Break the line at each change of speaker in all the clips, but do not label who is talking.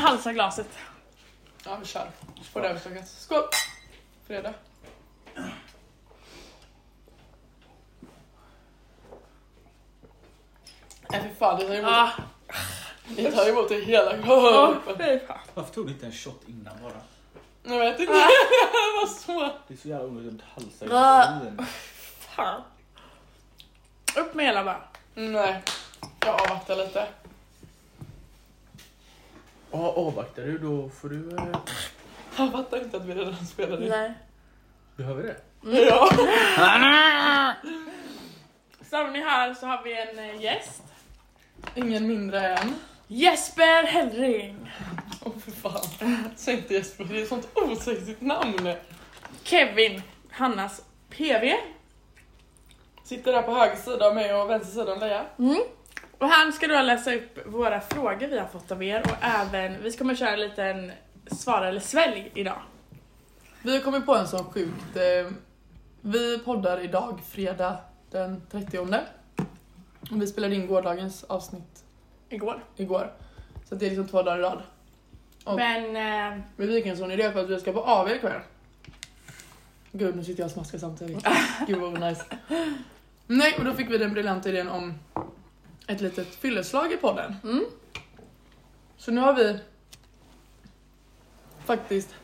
halsa glaset.
Ja, vi kör. På det överslaget. Skål! Fredag. Nej fy fan, det tar emot,
Ah,
det tar emot i hela
åh,
kroppen.
fy fan.
Varför tog du inte en shot innan bara?
Jag vet inte.
Ah.
Det var så.
Det är så jävla onödigt att halsa i
Ah.
munnen.
fan. Upp med hela bara.
Nej, jag avvaktar lite.
Ja, avvaktar du då får du... Eh,
Han fattar inte att vi redan spelade in.
Nej.
behöver det?
Ja.
Som ni hör så har vi en eh, gäst.
Ingen mindre än.
Jesper Hellring.
Åh för fan. Säg inte Jesper, det är ett sånt osexigt namn.
Kevin. Hannas PV.
Sitter där på höger sida av mig och vänster sida om Leia.
Mm. Och här ska då läsa upp våra frågor vi har fått av er och även, vi kommer köra en liten svara eller svälj idag.
Vi har kommit på en sån sjukt... Eh, vi poddar idag, fredag den 30. Och vi spelade in gårdagens avsnitt
Igår.
igår. Så det är liksom två dagar i rad. Och-
Men eh,
Men vi fick en sån idé för att vi ska på AW ikväll. Gud, nu sitter jag och smaskar samtidigt. Gud vad nice. Nej, och då fick vi den briljanta idén om ett litet fylleslag i podden.
Mm.
Så nu har vi faktiskt...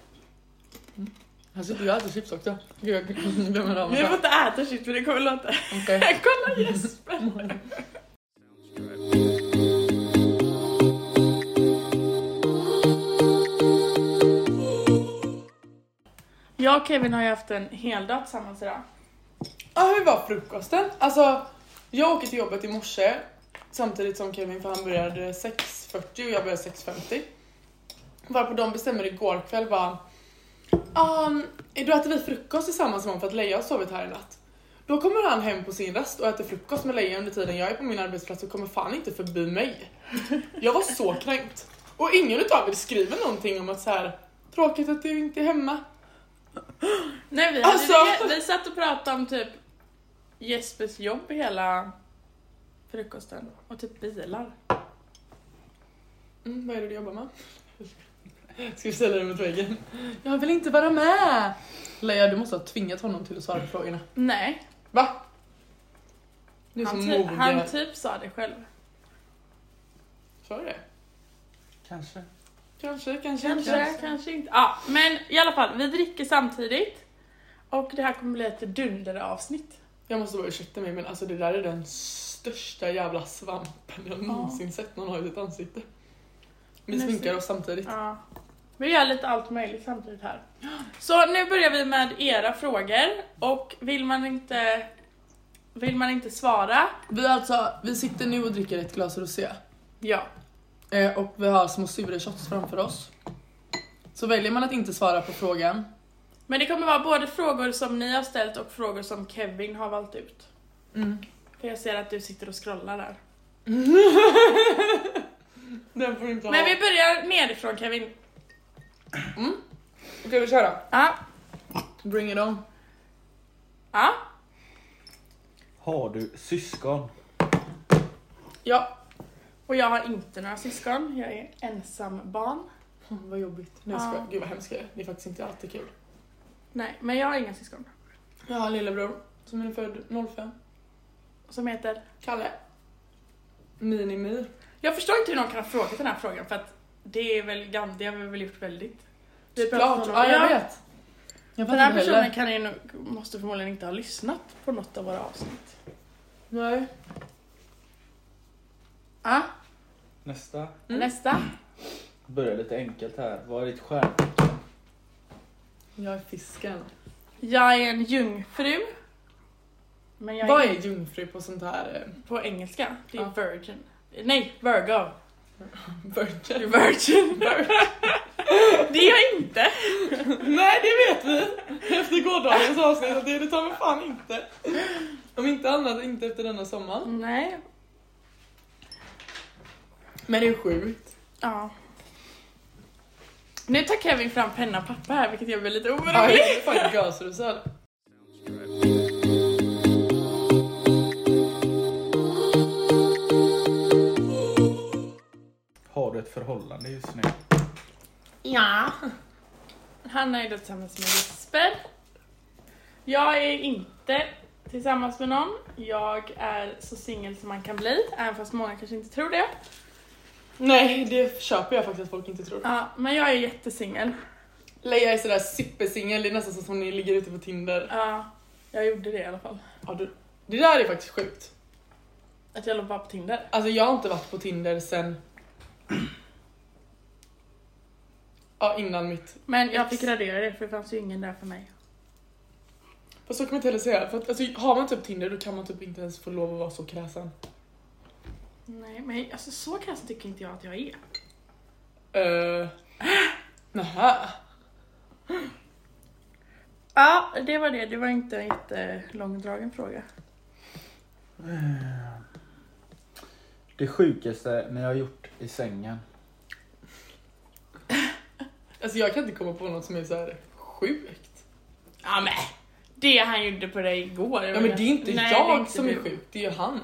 Mm. Här sitter jag och äter chips också. Gud, jag glömmer av
vi får
mig.
inte äta shit för det kommer låta...
Okej.
Kolla Jesper! Jag och Kevin har ju haft en hel dag tillsammans idag.
Ja, hur var frukosten? Alltså, jag åker till jobbet i morse samtidigt som Kevin för han började 6.40 och jag började 6.50. Varpå de bestämmer igår kväll bara um, då äter vi frukost tillsammans imorgon för att Leia har sovit här i natt. Då kommer han hem på sin rast och äter frukost med Leia under tiden jag är på min arbetsplats och kommer fan inte förbi mig. Jag var så kränkt. Och ingen utav er skriver någonting om att så här tråkigt att du inte är hemma.
Nej vi,
Alltså.
hade, vi satt och pratade om typ Jespers jobb hela frukosten och typ bilar.
Mm, vad är det du jobbar med? Ska vi ställa dig mot väggen? Jag vill inte vara med! Leia, du måste ha tvingat honom till att svara på frågorna.
Nej,
Va? Du är så
han, ty-
mogen.
han typ sa det själv.
Sa du det?
Kanske.
Kanske, kanske,
Kanske, kanske inte. Ja, men i alla fall, vi dricker samtidigt och det här kommer bli ett dunderavsnitt.
Jag måste bara ursäkta mig men alltså det där är den största jävla svampen jag någonsin sett någon ha i sitt ansikte. Vi
Men
sminkar
så-
oss samtidigt.
Ja. Vi gör lite allt möjligt samtidigt här. Så nu börjar vi med era frågor och vill man inte, vill man inte svara,
Vi, alltså, vi sitter nu och dricker ett glas rosé.
ja.
Eh, och vi har små sura shots framför oss. Så väljer man att inte svara på frågan
Men det kommer vara både frågor som ni har ställt och frågor som Kevin har valt ut.
mm.
För jag ser att du sitter och scrollar där.
Den får du inte
Men vi börjar nerifrån Kevin.
Okej vi kör då.
Ja,
Bring it on.
ja.
Har du syskon?
Ja.
Och jag har inte några syskon, jag är ensam barn.
Mm, vad jobbigt. Nej, jag
Ja.
skojar. Gud vad hemskt det är. Det är faktiskt inte alltid kul.
Nej, men jag har inga syskon.
Jag har en lillebror som är född 05.
Som heter...
Kalle. Minimi.
Jag förstår inte hur någon kan ha frågat den här frågan för att det är väl gan- det har vi väl gjort väldigt. Vi pratar
Klart.
om-
Ja jag vet. Jag
Den här
fattar inte
personen
heller.
kan ju, nog- måste förmodligen inte ha lyssnat på något av våra avsnitt.
Nej. Ah,
Ja,
Nästa.
Mm.
nästa.
Börja lite enkelt här. Vad är ditt stjärn?
Jag är fisken.
Jag är en jungfru. Men jag
Vad
är
är jungfru på sånt här eh,
på engelska. Det är
Ja.
virgin. Nej, virgo.
virgin?
Virgin. det är jag inte.
Nej det vet vi! Efter gårdagens avsnitt att det är det tar mig fan inte. Om inte annat inte efter denna sommaren.
Nej.
Men det är sjukt.
Ja. Nu tar Kevin fram penna och papper här vilket jag blir lite
Ja,
orolig.
det är fan gasrusad.
Har du ett förhållande just nu?
Ja. Hanna är då tillsammans med Jesper. Jag är inte tillsammans med någon. Jag är så singel som man kan bli, även fast många kanske inte tror det.
Nej, det köper jag faktiskt att folk inte tror.
Ja, men jag är jättesingel.
Leia är sådär supersingel, det är nästan som om ni ligger ute på Tinder.
Ja, jag gjorde det i alla fall.
Ja, du, det där är faktiskt sjukt.
Att jag låg bara på Tinder.
Alltså jag har inte varit på Tinder sen... Ja, innan mitt.
Men jag fick radera det för det fanns ju ingen där för mig.
Fast så kan man inte heller säga. För att, alltså, har man typ Tinder då kan man typ inte ens få lov att vara så kräsen.
Nej, men alltså så kanske tycker inte jag att jag är.
Uh, nähä.
Ja, det var det. Det var inte en jättelångdragen fråga.
Det sjukaste ni har gjort i sängen.
Alltså jag kan inte komma på något som är så här sjukt.
Ja, men det han gjorde på dig igår.
Ja men det är inte
Nej,
jag
det inte
som
du.
är sjuk, det är ju han.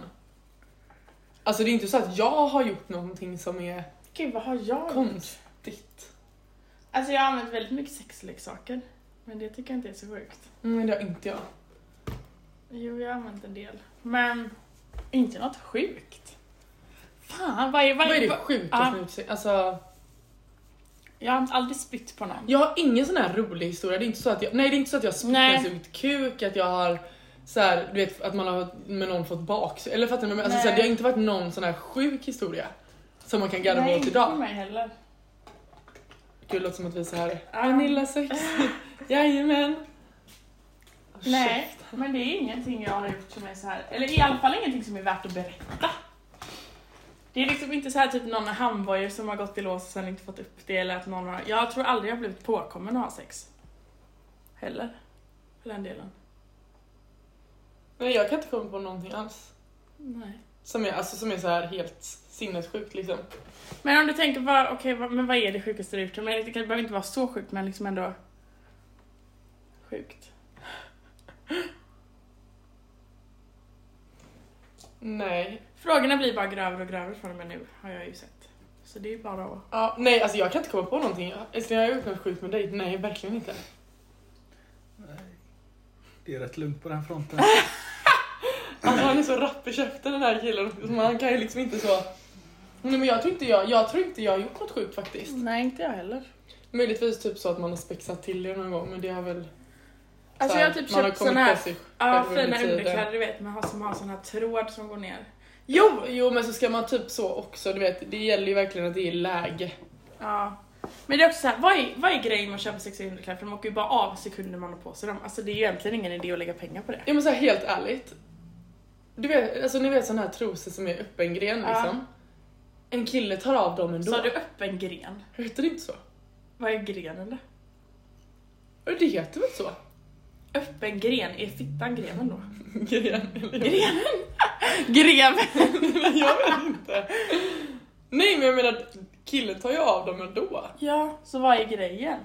Alltså det är inte så att jag har gjort någonting som är
Gud, vad har jag
konstigt.
Alltså jag har använt väldigt mycket sexleksaker. Men det tycker jag inte är så sjukt.
Nej Mm, det har inte jag.
Jo, jag har använt en del. Men inte något sjukt. Fan, vad är, Ah. vad
Vad är det
vad-
sjukaste
Ja.
ni har gjort sig? Alltså,
Jag har aldrig spytt på någon.
jag har ingen sån här rolig historia. Det är inte så att jag, nej det är inte så att jag har spytt
Nej.
ens ut kuk, att jag har så här, du vet att man har med någon fått bak Eller fattar du? vad jag menar? Alltså, så här,
Nej.
det har inte varit någon sån här sjuk historia. Som man kan garva åt
inte för
idag.
mig heller.
Gud det låter som att vi är så här.
Ja.
Vanilla sex. Jajamän.
Nej, men det är ingenting jag har gjort som är så här. Eller i alla fall ingenting som är värt att berätta. Det är liksom inte så här typ någon handbojor som har gått i lås och sen inte fått upp det eller att någon har... Jag tror aldrig jag har blivit påkommen att ha sex. Heller. För den delen.
Nej jag kan inte komma på någonting alls.
Nej.
Som är, alltså, som är så här helt sinnessjukt liksom.
Men om du tänker bara, okej, vad, men vad är det sjukaste du gjort? Men det kan- behöver inte vara så sjukt, men liksom ändå sjukt.
Nej.
Frågorna blir bara grövre och grövre från och med nu, har jag ju sett. Så det är ju bara att...
Ja, nej alltså jag kan inte komma på någonting. Älskling har jag gjort något sjukt med dig? Nej verkligen inte.
Det är rätt lugnt på den fronten.
Alltså han är så rapp i käften den här killen. Så Man kan ju liksom inte så... Nej men jag tror inte jag, jag tror inte jag har gjort något sjukt faktiskt.
Nej, inte jag heller.
Möjligtvis typ så att man har spexat till det någon gång men det har väl...
Alltså
så
jag
här,
har typ
man har
köpt
kommit
sån här
på sig
Ja,
själv under
fina
tiden.
underkläder du vet, man har, som har sån här tråd som går ner.
Jo, jo men så ska man typ så också, du vet det gäller ju verkligen att det är läge.
Ja. Men det är också såhär, vad är, vad är grejen med att köpa sexiga underkläder? För de åker ju bara av sekunder man har på sig dem. Alltså det är ju egentligen ingen idé att lägga pengar på det.
Ja men så här, helt ärligt. Du vet, alltså ni vet sådana här trosor som är öppen gren
Ja.
liksom. En kille tar av dem ändå.
Sa du öppen gren?
Heter det inte så?
Vad är grenen då?
Ja, Det heter väl så?
Öppen gren, är fittan grenen då?
Mm. Gren eller?
Grenen! Greven!
Nej, jag vet inte. Nej men jag menar, killen tar ju av dem ändå.
Ja, så vad är grejen?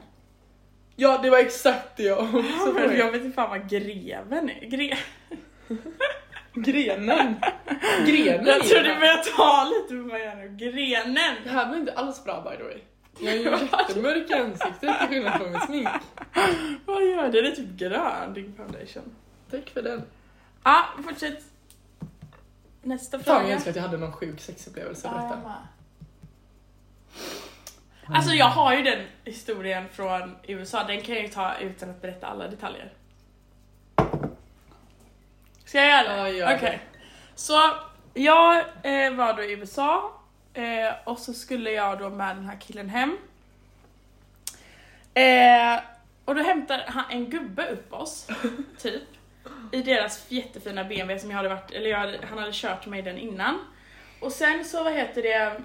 Ja det var exakt det jag
Så
också
för jag
frågade.
vet inte fan vad greven är. Gre-
Grenen. Grenen.
jag tror du börjar ta lite på mig här nu. Grenen!
Det här var inte alls bra by the way. Jag är ju jättemörk i ansiktet till skillnad från mitt smink.
Vad gör det? Det är typ grön, din foundation.
Tack för den.
Ja, fortsätt. Nästa
Fan
fråga.
jag önskar att jag hade någon sjuk sexupplevelse att
Ja, jag
berätta.
med. Alltså jag har ju den historien från USA, den kan jag ju ta utan att berätta alla detaljer. Ska jag göra det?
Ja, gör det.
Okej. Så jag eh, var då i USA eh, och så skulle jag då med den här killen hem. Eh, och då hämtar han en gubbe upp oss, typ. I deras jättefina BMW som jag hade varit, eller jag hade, han hade kört mig den innan. Och sen så, vad heter det,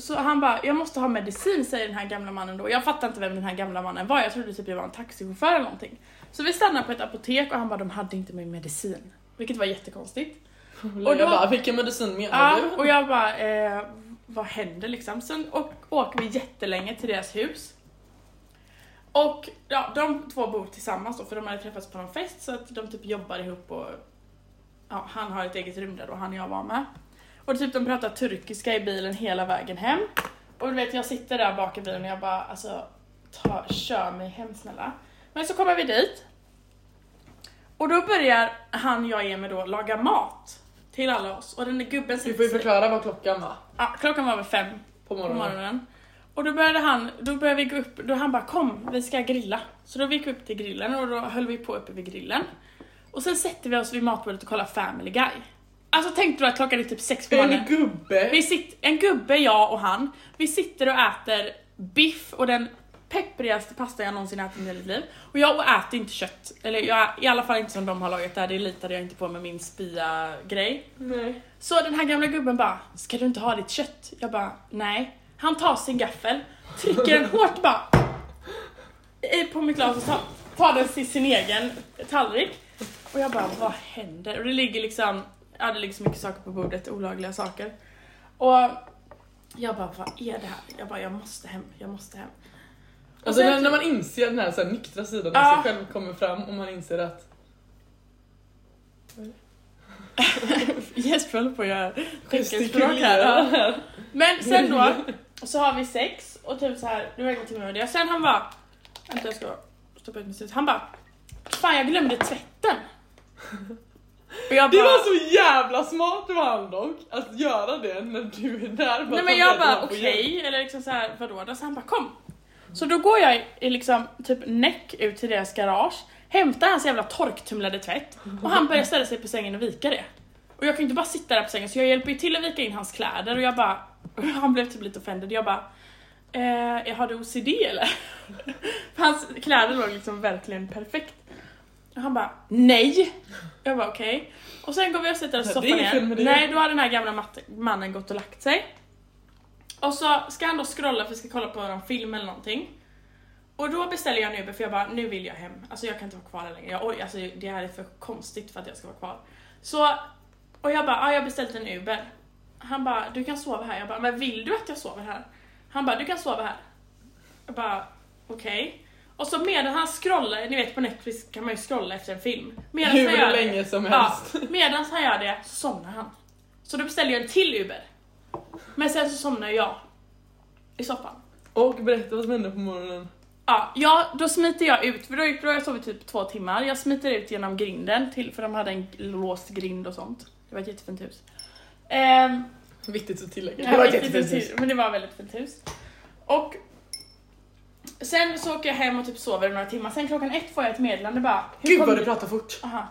så han bara, jag måste ha medicin säger den här gamla mannen då. Jag fattar inte vem den här gamla mannen var, jag trodde typ jag var en taxichaufför eller någonting. Så vi stannade på ett apotek och han bara, de hade inte min medicin. Vilket var jättekonstigt.
Och
då-
jag bara, vilken medicin menar
Ja,
du?
och jag bara, eh, vad händer liksom? Sen och, åker vi jättelänge till deras hus. Och ja, de två bor tillsammans då, för de hade träffats på någon fest så att de typ jobbar ihop och ja, han har ett eget rum där då, han och jag var med. Och typ de pratar turkiska i bilen hela vägen hem. Och du vet jag sitter där bak i bilen och jag bara alltså ta, kör mig hem snälla. Men så kommer vi dit. Och då börjar han jag är med då laga mat till alla oss. Och den där gubben
Du får ju
sitter
förklara vad klockan var
ja, Klockan var väl fem
på
på
morgonen.
morgonen. Och då började han, då började vi gå upp, då han bara kom, vi ska grilla. Så då gick vi upp till grillen och då höll vi på uppe vid grillen. Och sen sätter vi oss vid matbordet och kollar Family Guy. Alltså tänkte du att klockan är typ sex på morgonen?
En gubbe!
Vi sitter, en gubbe, jag och han, vi sitter och äter biff och den pepprigaste pasta jag någonsin ätit i hela mitt liv. Och jag äter inte kött, eller jag, i alla fall inte som de har lagat där, det litade jag inte på med min spia-grej.
Nej.
Så den här gamla gubben bara, ska du inte ha ditt kött? Jag bara, nej. Han tar sin gaffel, trycker den hårt bara i- på mitt glas och tar, tar den till sin egen tallrik. Och jag bara, vad händer? Och det ligger liksom, ja det ligger så mycket saker på bordet, olagliga saker. Och jag bara, vad är det här? Jag bara, jag måste hem, jag måste hem. Och
Alltså
sen-
när, när man inser den här, så här nyktra sidan av
Ja.
sig själv kommer fram och man inser att
Jesper håller på att göra teckenspråk här. Ja.
gestikulera.
Men sen då, så har vi sex och typ så här, nu har jag gått till med det. Sen han bara, vänta jag ska stoppa ut min snus. Han bara, fan jag glömde tvätten. Och jag
Det
bara,
var så jävla smart av han dock, att göra det när du är där.
nej
ta
men jag
med
bara
den på
okej,
hjälp.
eller liksom så här, vadå då? Så han bara kom. Så då går jag i- i liksom typ näck ut till deras garage, hämtar hans jävla torktumlade tvätt och han börjar ställa sig på sängen och vika det. Och jag kan ju inte bara sitta där på sängen så jag hjälper ju till att vika in hans kläder och jag bara, och han blev typ lite offended, jag bara eh, har du OCD eller? För hans kläder låg liksom verkligen perfekt. Och han bara nej! Jag bara okej. Och sen går vi och sätter oss i
Det är
soffan
inget fel
igen.
med det.
Nej, då har den här gamla matte- mannen gått och lagt sig. Och så ska han då scrolla för vi ska kolla på någon film eller någonting. Och då beställer jag en Uber för jag bara, nu vill jag hem. Alltså jag kan inte vara kvar här längre. Jag, oj, alltså, det här är för konstigt för att jag ska vara kvar. Så, och jag bara, ja, jag har beställt en Uber. Han bara, du kan sova här. Jag bara, men vill du att jag sover här? Han bara, du kan sova här. Jag bara, okej. Och så medan han scrollar, ni vet på Netflix kan man ju scrolla efter en film. Medan han gör
Hur
det-
länge som
Ja,
helst.
medan han gör det så somnar han. Så då beställer jag en till Uber. Men sen så somnar jag. I soffan.
Och berätta vad som hände på morgonen.
Ja, ja, då smiter jag ut, för då, då har jag sovit typ två timmar. Jag smiter ut genom grinden, till, för de hade en låst grind och sånt. Det var ett jättefint hus. Ehm,
Viktigt att tillägga.
Ja, riktigt fint hus, Men det var väldigt fint hus. Och sen så åker jag hem och typ sover några timmar. Sen klockan ett får jag ett meddelande bara. hur
Gud
kom
vad du pratar fort.
Aha.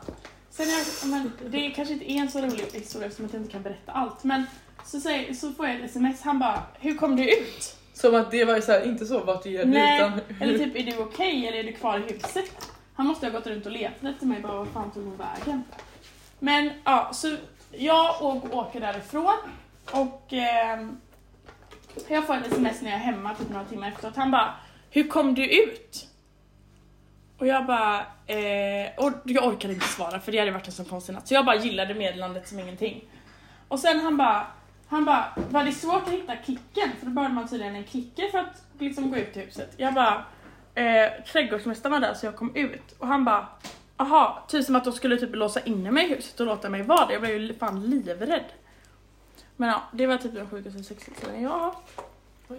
Sen jag, men det kanske inte är en så rolig historia eftersom att jag inte kan berätta allt. Men så, säger, så får jag ett sms. Han bara, hur kom du ut?
Som att det var ju så här, inte så vart du ger dig,
Nej,
utan
eller typ är du okej eller är du kvar i huset? Han måste ha gått runt och letat efter mig bara, vad fan tog hon vägen? Men ja, så jag å- åker därifrån och ehm, jag får ett sms när jag är hemma typ några timmar efteråt. Han bara, hur kom du ut? Och jag bara, eh, och jag orkade inte svara för det hade varit en sån konstig natt. Så jag bara gillade meddelandet som ingenting. Och sen han bara, han bara, var det svårt att hitta klicken? För då behövde man tydligen en klicker för att liksom gå ut till huset. Jag bara, eh, trädgårdsmästaren var där så jag kom ut. Och han bara, aha, typ som att de skulle typ låsa in mig i huset och låta mig vara där. Jag blev ju fan livrädd. Men ja, det var typ den sjukaste sexhistorien jag har haft.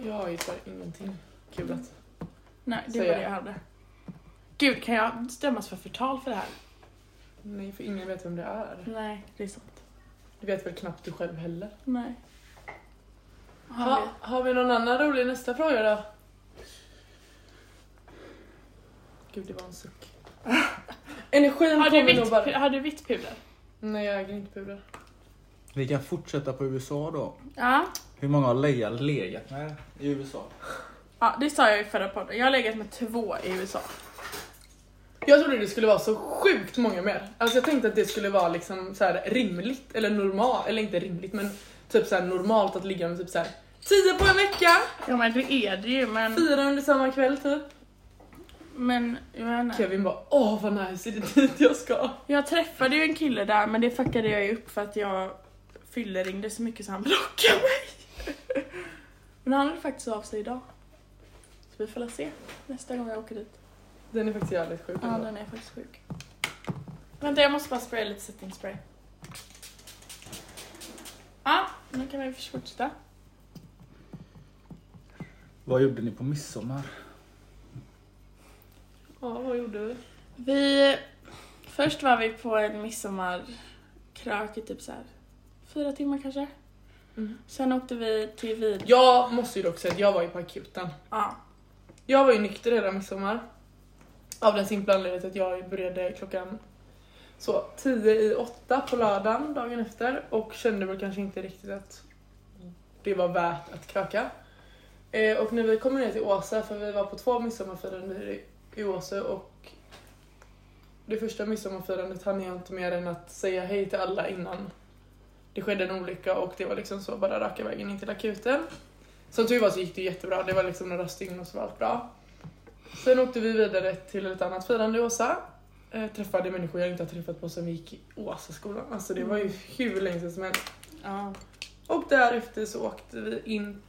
Jag har ju så här ingenting kul att...
Nej, det
Så
var
jag-
det jag hade. Gud, kan jag stämmas för förtal för det här?
Nej, för ingen vet vem det är.
Nej, det är sant.
Du vet väl knappt du själv heller.
Nej.
Ha, har vi någon annan rolig nästa fråga då? Gud, det var en suck. Energin
Har du,
kommer nog
vitt,
bara...
har du vitt puder?
Nej, jag äger inte puder.
Vi kan fortsätta på USA då.
Ja.
Hur många har Leia legat med i USA?
ja. Det sa jag i förra podden. Jag har legat med två i USA.
Jag trodde det skulle vara så sjukt många mer. Alltså jag tänkte att det skulle vara liksom så här rimligt, eller normalt, eller inte rimligt men typ så här normalt att ligga med typ så här 10 på en vecka,
Ja men det är det ju men...
fyra under samma kväll typ.
Men jag vet inte.
Kevin bara åh vad nice, är det dit jag ska?
Jag träffade ju en kille där men det fuckade jag ju upp för att jag fylleringde så mycket så han blockade mig. Men han hörde faktiskt av sig idag. Så vi får väl se nästa gång jag åker dit.
Den är faktiskt jävligt sjuk.
Ja
ändå.
den är faktiskt sjuk. Vänta jag måste bara spraya lite setting spray. Ja, nu kan vi fortsätta.
Vad gjorde ni på midsommar?
Ja, vad gjorde vi?
Vi... Först var vi på en midsommarkrök i typ så här fyra timmar kanske.
Mm.
Sen åkte vi till Vid...
Jag måste ju dock säga att jag var ju på akuten.
Ja.
Jag var ju nykter hela midsommar. Av den simpla anledningen att jag började klockan så 10 i 8 på lördagen dagen efter och kände väl kanske inte riktigt att det var värt att kröka. Eh, och när vi kom ner till Åsa, för vi var på två midsommarfiranden i- i Åsa och det första midsommarfirandet hann jag inte mer än att säga hej till alla innan det skedde en olycka och det var liksom så bara raka vägen in till akuten. Som tur var så gick det jättebra, det var liksom några stygn och så var allt bra. Sen åkte vi vidare till ett annat firande i Åsa. Eh, träffade människor jag inte har träffat på sen vi gick i Åsaskolan. Alltså det var ju hur länge sedan som helst.
ja.
Och därefter så åkte vi in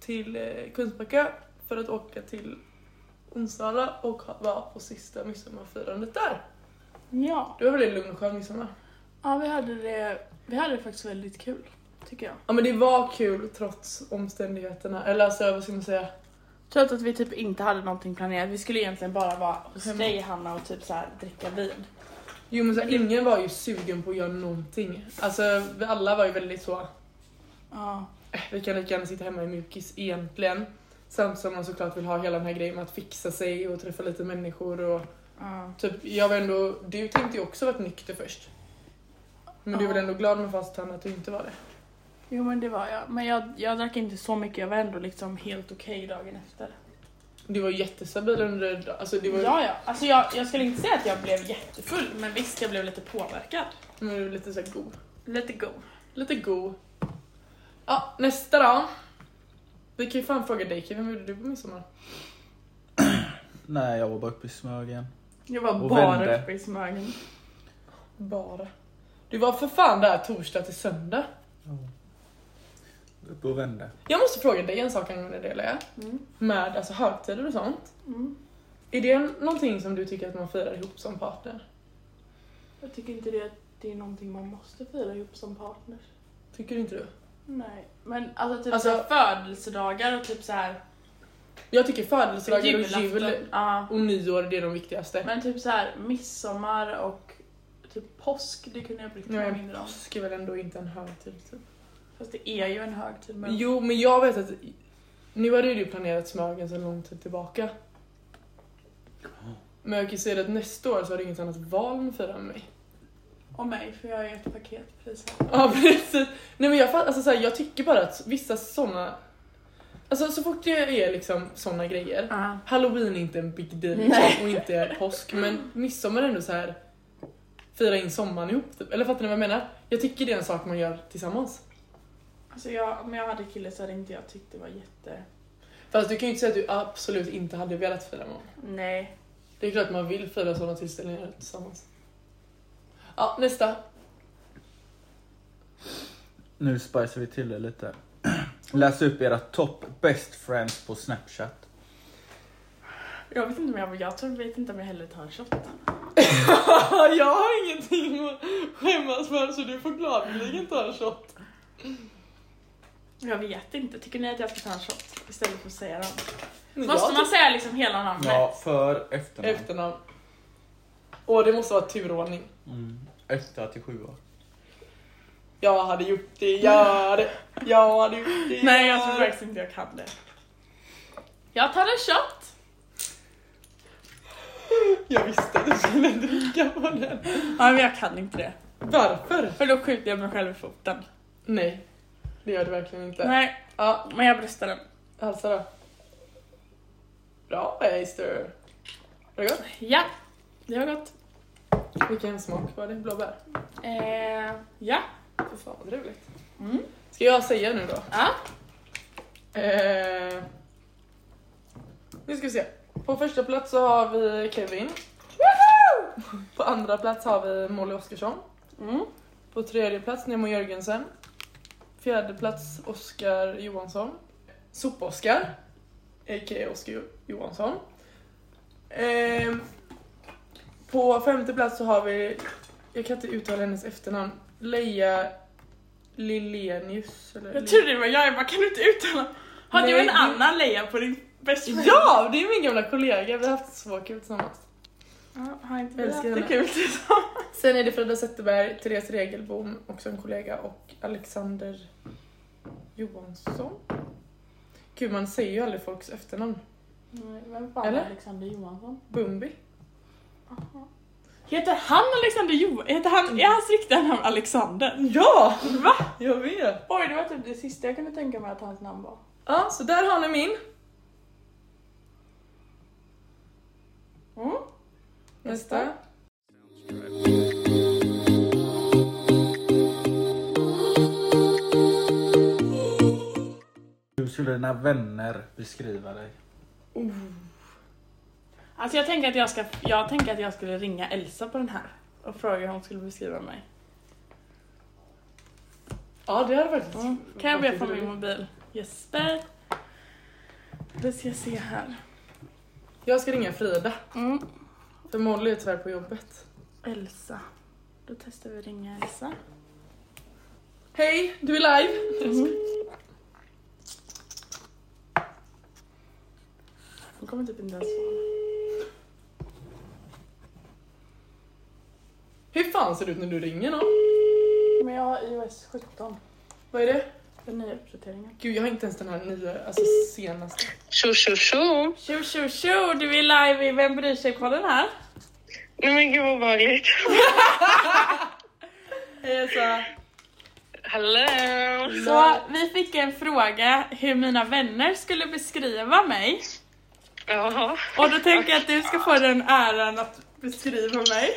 till eh, Kungsbacka för att åka till Onsala och ha- var på sista midsommarfirandet där.
Ja.
Det var väldigt lugn och skön midsommar.
Ja, vi hade det... Vi hade det faktiskt väldigt kul, tycker jag.
Ja men det var kul trots omständigheterna. Eller alltså vad ska man säga?
Trots att vi typ inte hade någonting planerat. Vi skulle egentligen bara vara hos
Hemma.
dig Hanna och typ så här dricka vin.
Jo men så här, ingen var ju sugen på att göra någonting. Alltså vi alla var ju väldigt så,
Ja.
"Eh, vi kan lika gärna sitta hemma i mjukis egentligen. Samtidigt som man såklart vill ha hela den här grejen med att fixa sig och träffa lite människor och
ja.
typ, jag var ändå, du tänkte ju också varit nykter först. Men du
Ja.
var ändå glad med fast hand att du inte var det.
Jo men det var jag. Men jag, jag drack inte så mycket, jag var ändå liksom helt okej dagen efter. du
Du var jättestabil under, alltså det var ju
Ja, ja. Alltså jag, jag skulle inte säga att jag blev jättefull, men visst jag blev lite påverkad.
men du var lite såhär god.
Lite god.
Lite god. Ja, nästa då. Vi kan ju fan fråga dig Kevin, vad gjorde du på midsommar?
Nej, jag var bara uppe i Smögen.
Jag var
Och
bara
vände.
uppe i Smögen.
Bara. Du var för fan där torsdag till söndag.
Uppe och vände.
Jag måste fråga dig en sak angående det Lea.
Mm.
Med alltså högtider och sånt.
Mm.
Är det någonting som du tycker att man firar ihop som partner?
Jag tycker inte det, det är någonting man måste fira ihop som partner.
Tycker inte du?
Nej. Men alltså typ
Alltså-
så här födelsedagar och typ så här
Jag tycker födelsedagar och jul
julafton. Ja.
och nyår det är de viktigaste.
Men typ så här midsommar och typ påsk, det kunde jag brytt mig
Nej,
mindre om.
påsk är väl ändå inte en högtid typ.
Fast det är ju en högtid. Men...
Jo men jag vet att nu hade ju du planerat Smögen sedan lång tid tillbaka. Men jag kan ju säga att nästa år så har du inget annat val än att fira med mig.
Och mig, för jag är ett paket precis här.
Ja precis. Nej men jag, fatt- alltså, så här, jag tycker bara att vissa såna Alltså så fort det är liksom såna grejer.
Ja.
Halloween är inte en big deal liksom,
Nej.
och inte påsk men midsommar är ändå så här fira in sommaren ihop typ. Eller fattar ni vad jag menar? Jag tycker det är en sak man gör tillsammans.
Alltså jag, om jag hade kille så hade inte jag tyckt det var jätte...
Fast du kan ju inte säga att du absolut inte hade velat fira med honom.
Nej.
Det är klart man vill fira sådana tillställningar tillsammans. Ja, nästa.
Nu spicar vi till det lite. Läs upp era top best friends på Snapchat.
Jag vet inte om jag, jag tror, vet inte om jag hellre tar en shot.
jag har ingenting att skämmas för så du får gladeligen ta en shot.
Jag vet inte. Tycker ni att jag ska ta en shot istället för att säga dem?
Men jag
Måste man säga liksom hela namnet?
Ja, för efternamn.
Efternamn. Och det måste vara turordning.
Mm. Efter till sju år.
Jag hade gjort det, jag hade, Mm. jag hade gjort det.
Nej, jag tror
hade-
faktiskt inte jag kan det. Jag tar en shot.
Jag visste att du skulle dricka på den.
Ja, men jag kan inte det.
Varför?
För då skjuter jag mig själv i foten.
Nej, det gör du verkligen inte.
Nej,
Ja,
men jag bröstar den.
halsa då. Bra Ester. Var det gott?
Ja, det var gott.
Vilken smak var det? Blåbär?
Eh, ja.
Fy fan vad trevligt.
Mm.
Ska jag säga nu då?
Ja.
Eh, nu ska vi se. På första plats så har vi Kevin. På andra plats har vi Molly Oskarsson.
Mm.
På tredje plats Nemo Jörgensen. Fjärde plats Oskar Johansson. Sop-Oskar. A.k.a. Oskar Johansson. Ehm, på femte plats så har vi, jag kan inte uttala hennes efternamn, Leia Lilenius. Eller
Jag trodde det var jag, jag bara kan du inte uttala? Har
Nej,
du en
det-
annan Leia på din bästa
Ja, det är min gamla kollega. Vi har haft så kul tillsammans.
Ja, Har inte
Jag
vi haft
älskar
det
henne.
kul tillsammans?
Sen är det Frida Zetterberg, Therese Regelbom, också en kollega, och Alexander Johansson. Gud, man säger ju aldrig folks efternamn.
Vem fan
är
Alexander Johansson?
Bumbi.
Heter han Alexander Johansson? Heter han, är hans riktiga namn Alexander?
Ja! Va? Jag vet.
Oj, det var typ det sista jag kunde tänka mig att hans namn var.
Ja, så där har ni min.
Mm.
Nästa.
Hur skulle dina vänner beskriva dig?
Alltså jag tänker, att jag, ska, jag tänker att jag skulle ringa Elsa på den här och fråga hur hon skulle beskriva mig.
Ja, det hade varit...
Mm. Kan jag be på min mobil? Jesper. Det ska jag se här.
Jag ska ringa Frida,
Mm.
för Molly är tyvärr på jobbet.
Elsa. Då testar vi att ringa Elsa.
Hej, du är live!
Mm. Hon kommer typ inte ens svara.
Hur fan ser det ut när du ringer någon?
Men jag har iOS 17.
Vad är det?
Den nya uppdateringen.
Gud, jag har inte ens den här nya, alltså senaste.
Tjo tjo tjo!
Tjo tjo tjo! Du är live i Vem bryr sig-podden här.
Nej men gud vad obehagligt.
Hej Elsa!
Hallå!
Så vi fick en fråga hur mina vänner skulle beskriva mig.
Jaha.
Och då tänker jag att du ska få den äran att beskriva mig.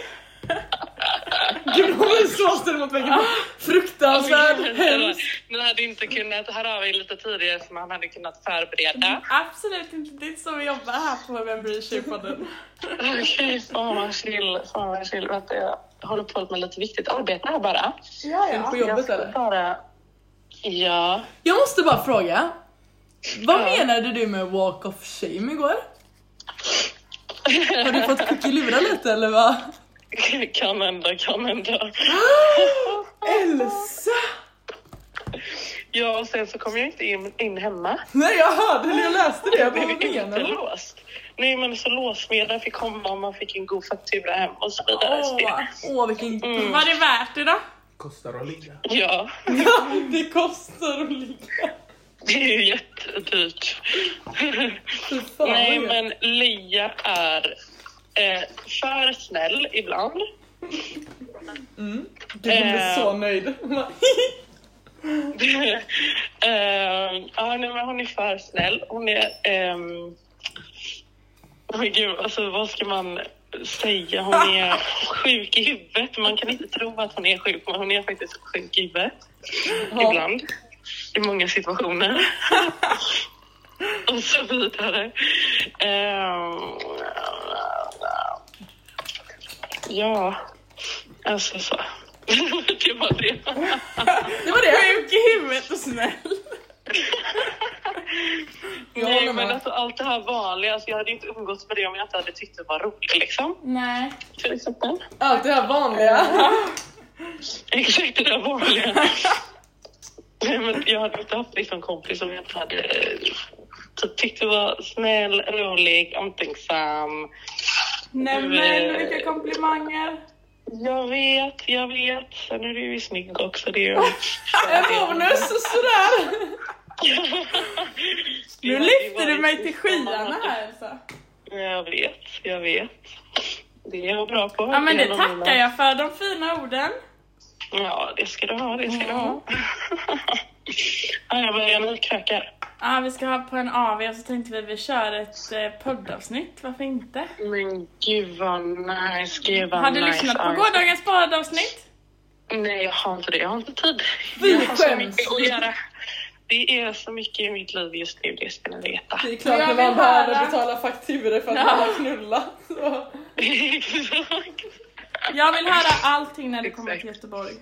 Gud, hon är så ställd mot väggen. Fruktansvärd, hemsk.
Ni hade inte kunnat höra av er lite tidigare så man hade kunnat förbereda.
Absolut inte, det är inte så vi jobbar här på Vem bryr sig-podden.
Okej, fan vad chill. Fan vad chill. Vänta, jag håller på med lite viktigt arbete här bara.
Ja,
Är du på
Jag
jobbet
ska
eller?
bara... Ja.
Jag måste bara fråga. Vad
Ja.
menade du med walk of shame igår? Har du fått kuckelura lite eller vad?
kan hända, kan hända.
Elsa!
Ja, och sen så kom jag inte in, in hemma.
Nej jag hörde eller jag läste det, jag bara
blev
vad menar
inte
du?
låst. Nej men så låssmeden fick komma och man fick en god faktura hem och så vidare. Så det-
Åh,
Åh vilken...
var det värt det då?
Kostar att ligga.
Ja,
det kostar att ligga.
det är ju jättedyrt.
Fy fan
Nej,
vad gött.
men Lia är eh, för snäll ibland.
Gud hon blev
eh.
så nöjd. Hon bara,
eh, ja, nej, men hon är för snäll. Hon är... ehm, men gud, alltså, vad ska man säga? Hon är sjuk i huvudet. Man kan inte tro att hon är sjuk, men hon är faktiskt sjuk i huvudet.
ja.
ibland. I många situationer. och så vidare. Ehm, ja, alltså så. det var det.
Det var det.
Sjuk i huvudet och snäll.
Jag
Nej,
håller
men
med.
alltså, allt det här vanliga. Alltså, jag hade inte umgåtts med det om jag inte hade tyckt det var roligt. Liksom,
Nej.
till exempel.
Allt det här vanliga.
Exakt det där vanliga. Nej, men jag hade inte haft liksom, kompis om jag inte hade eh, typ, tyckt det var snäll, rolig, omtänksam.
Nej men vilka komplimanger.
Jag vet, jag vet. Sen är du ju snygg också. Det är ju...
En bonus och sådär.
Nu lyfter du mig till skyarna här Elsa.
Jag vet, jag vet. Det är jag bra på.
Ja men det
är en av mina-
tackar jag för, de fina orden.
Ja, det ska du ha, det ska du
Ja.
ha. ja, jag börjar med krökar.
Ja, vi ska ha på en AV och så tänkte vi att vi kör ett eh, poddavsnitt, varför inte?
Men gud vad nice, gud vad
Har du
nice.
lyssnat på
Ja,
gårdagens poddavsnitt?
Nej, jag har inte det. Jag har inte tid.
Vi
jag har så
skäms.
mycket att göra. Det är så mycket i mitt liv just nu, det ska ni veta.
Det är klart
Jag
när
vill
man behöver
höra.
betala fakturor för att
Ja.
man har knullat. Så.
Exakt.
Jag vill höra allting när du kommer
Exakt.
till Göteborg.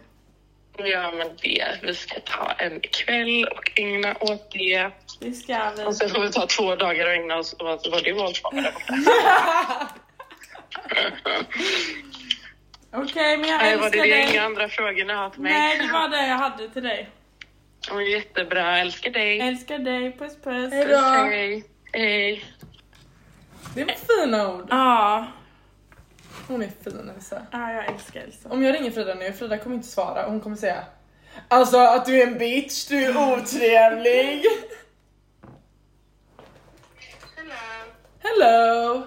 Ja, men det. Vi ska ta en kväll och ägna åt det.
Det ska vi.
Och sen får vi ta två dagar och ägna oss åt vad du valt för där borta.
Okej, men jag
Nej, Var
älskar
det, det
dig.
inga andra frågor ni har till mig?
Nej, det var det jag hade till dig.
Ja, men Jättebra, älskar dig.
Älskar dig, puss puss.
Hej då.
Ja.
Hej.
eh,
Hej.
Det var fina ord.
Ja,
Hon är fin Elsa.
jag älskar Elsa.
Om jag ringer Frida nu, Frida kommer inte svara. Hon kommer säga Alltså att du är en bitch, du är otrevlig.
Hello.
Hello!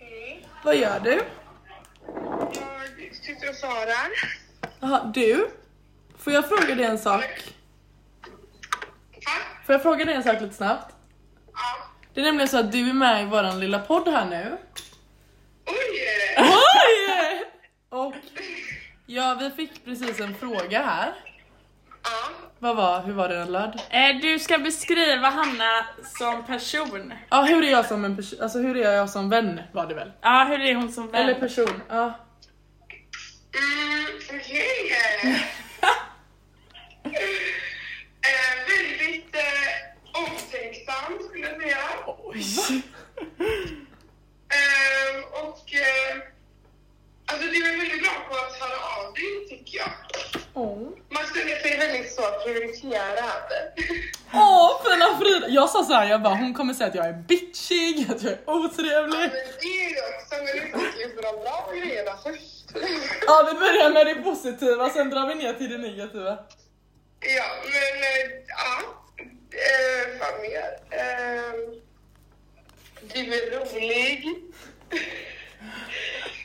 Hej.
Vad gör du?
Jag sitter och svarar.
Aha, du? Får jag fråga dig en sak? Får jag fråga dig en sak lite snabbt?
Ja.
Det är nämligen så att du är med i våran lilla podd här nu.
Oj!
Oj! Och ja, vi fick precis en fråga här.
Ja.
Vad var, hur var det den löd?
Eh, du ska beskriva Hanna som person.
Ja, hur är jag som en person, alltså hur är jag som vän var det väl?
Ja, hur är hon som vän?
Eller person, ja.
Mm, okej. eh, väldigt eh, omtänksam skulle jag säga.
Oj.
Eh, och eh, alltså du är väldigt bra på att höra av dig tycker jag.
Åh,
Man känner sig väldigt så prioriterad.
Åh, fina Frida! Jag sa såhär, jag bara hon kommer säga att jag är bitchig, att jag är
Men
otrevlig.
det är ju också, men du fokuserar på de bra grejerna först.
Ja, vi börjar med det positiva, sen drar vi ner till det negativa.
ja, men eh, ja. Eh, fan mer. Eh, du är rolig.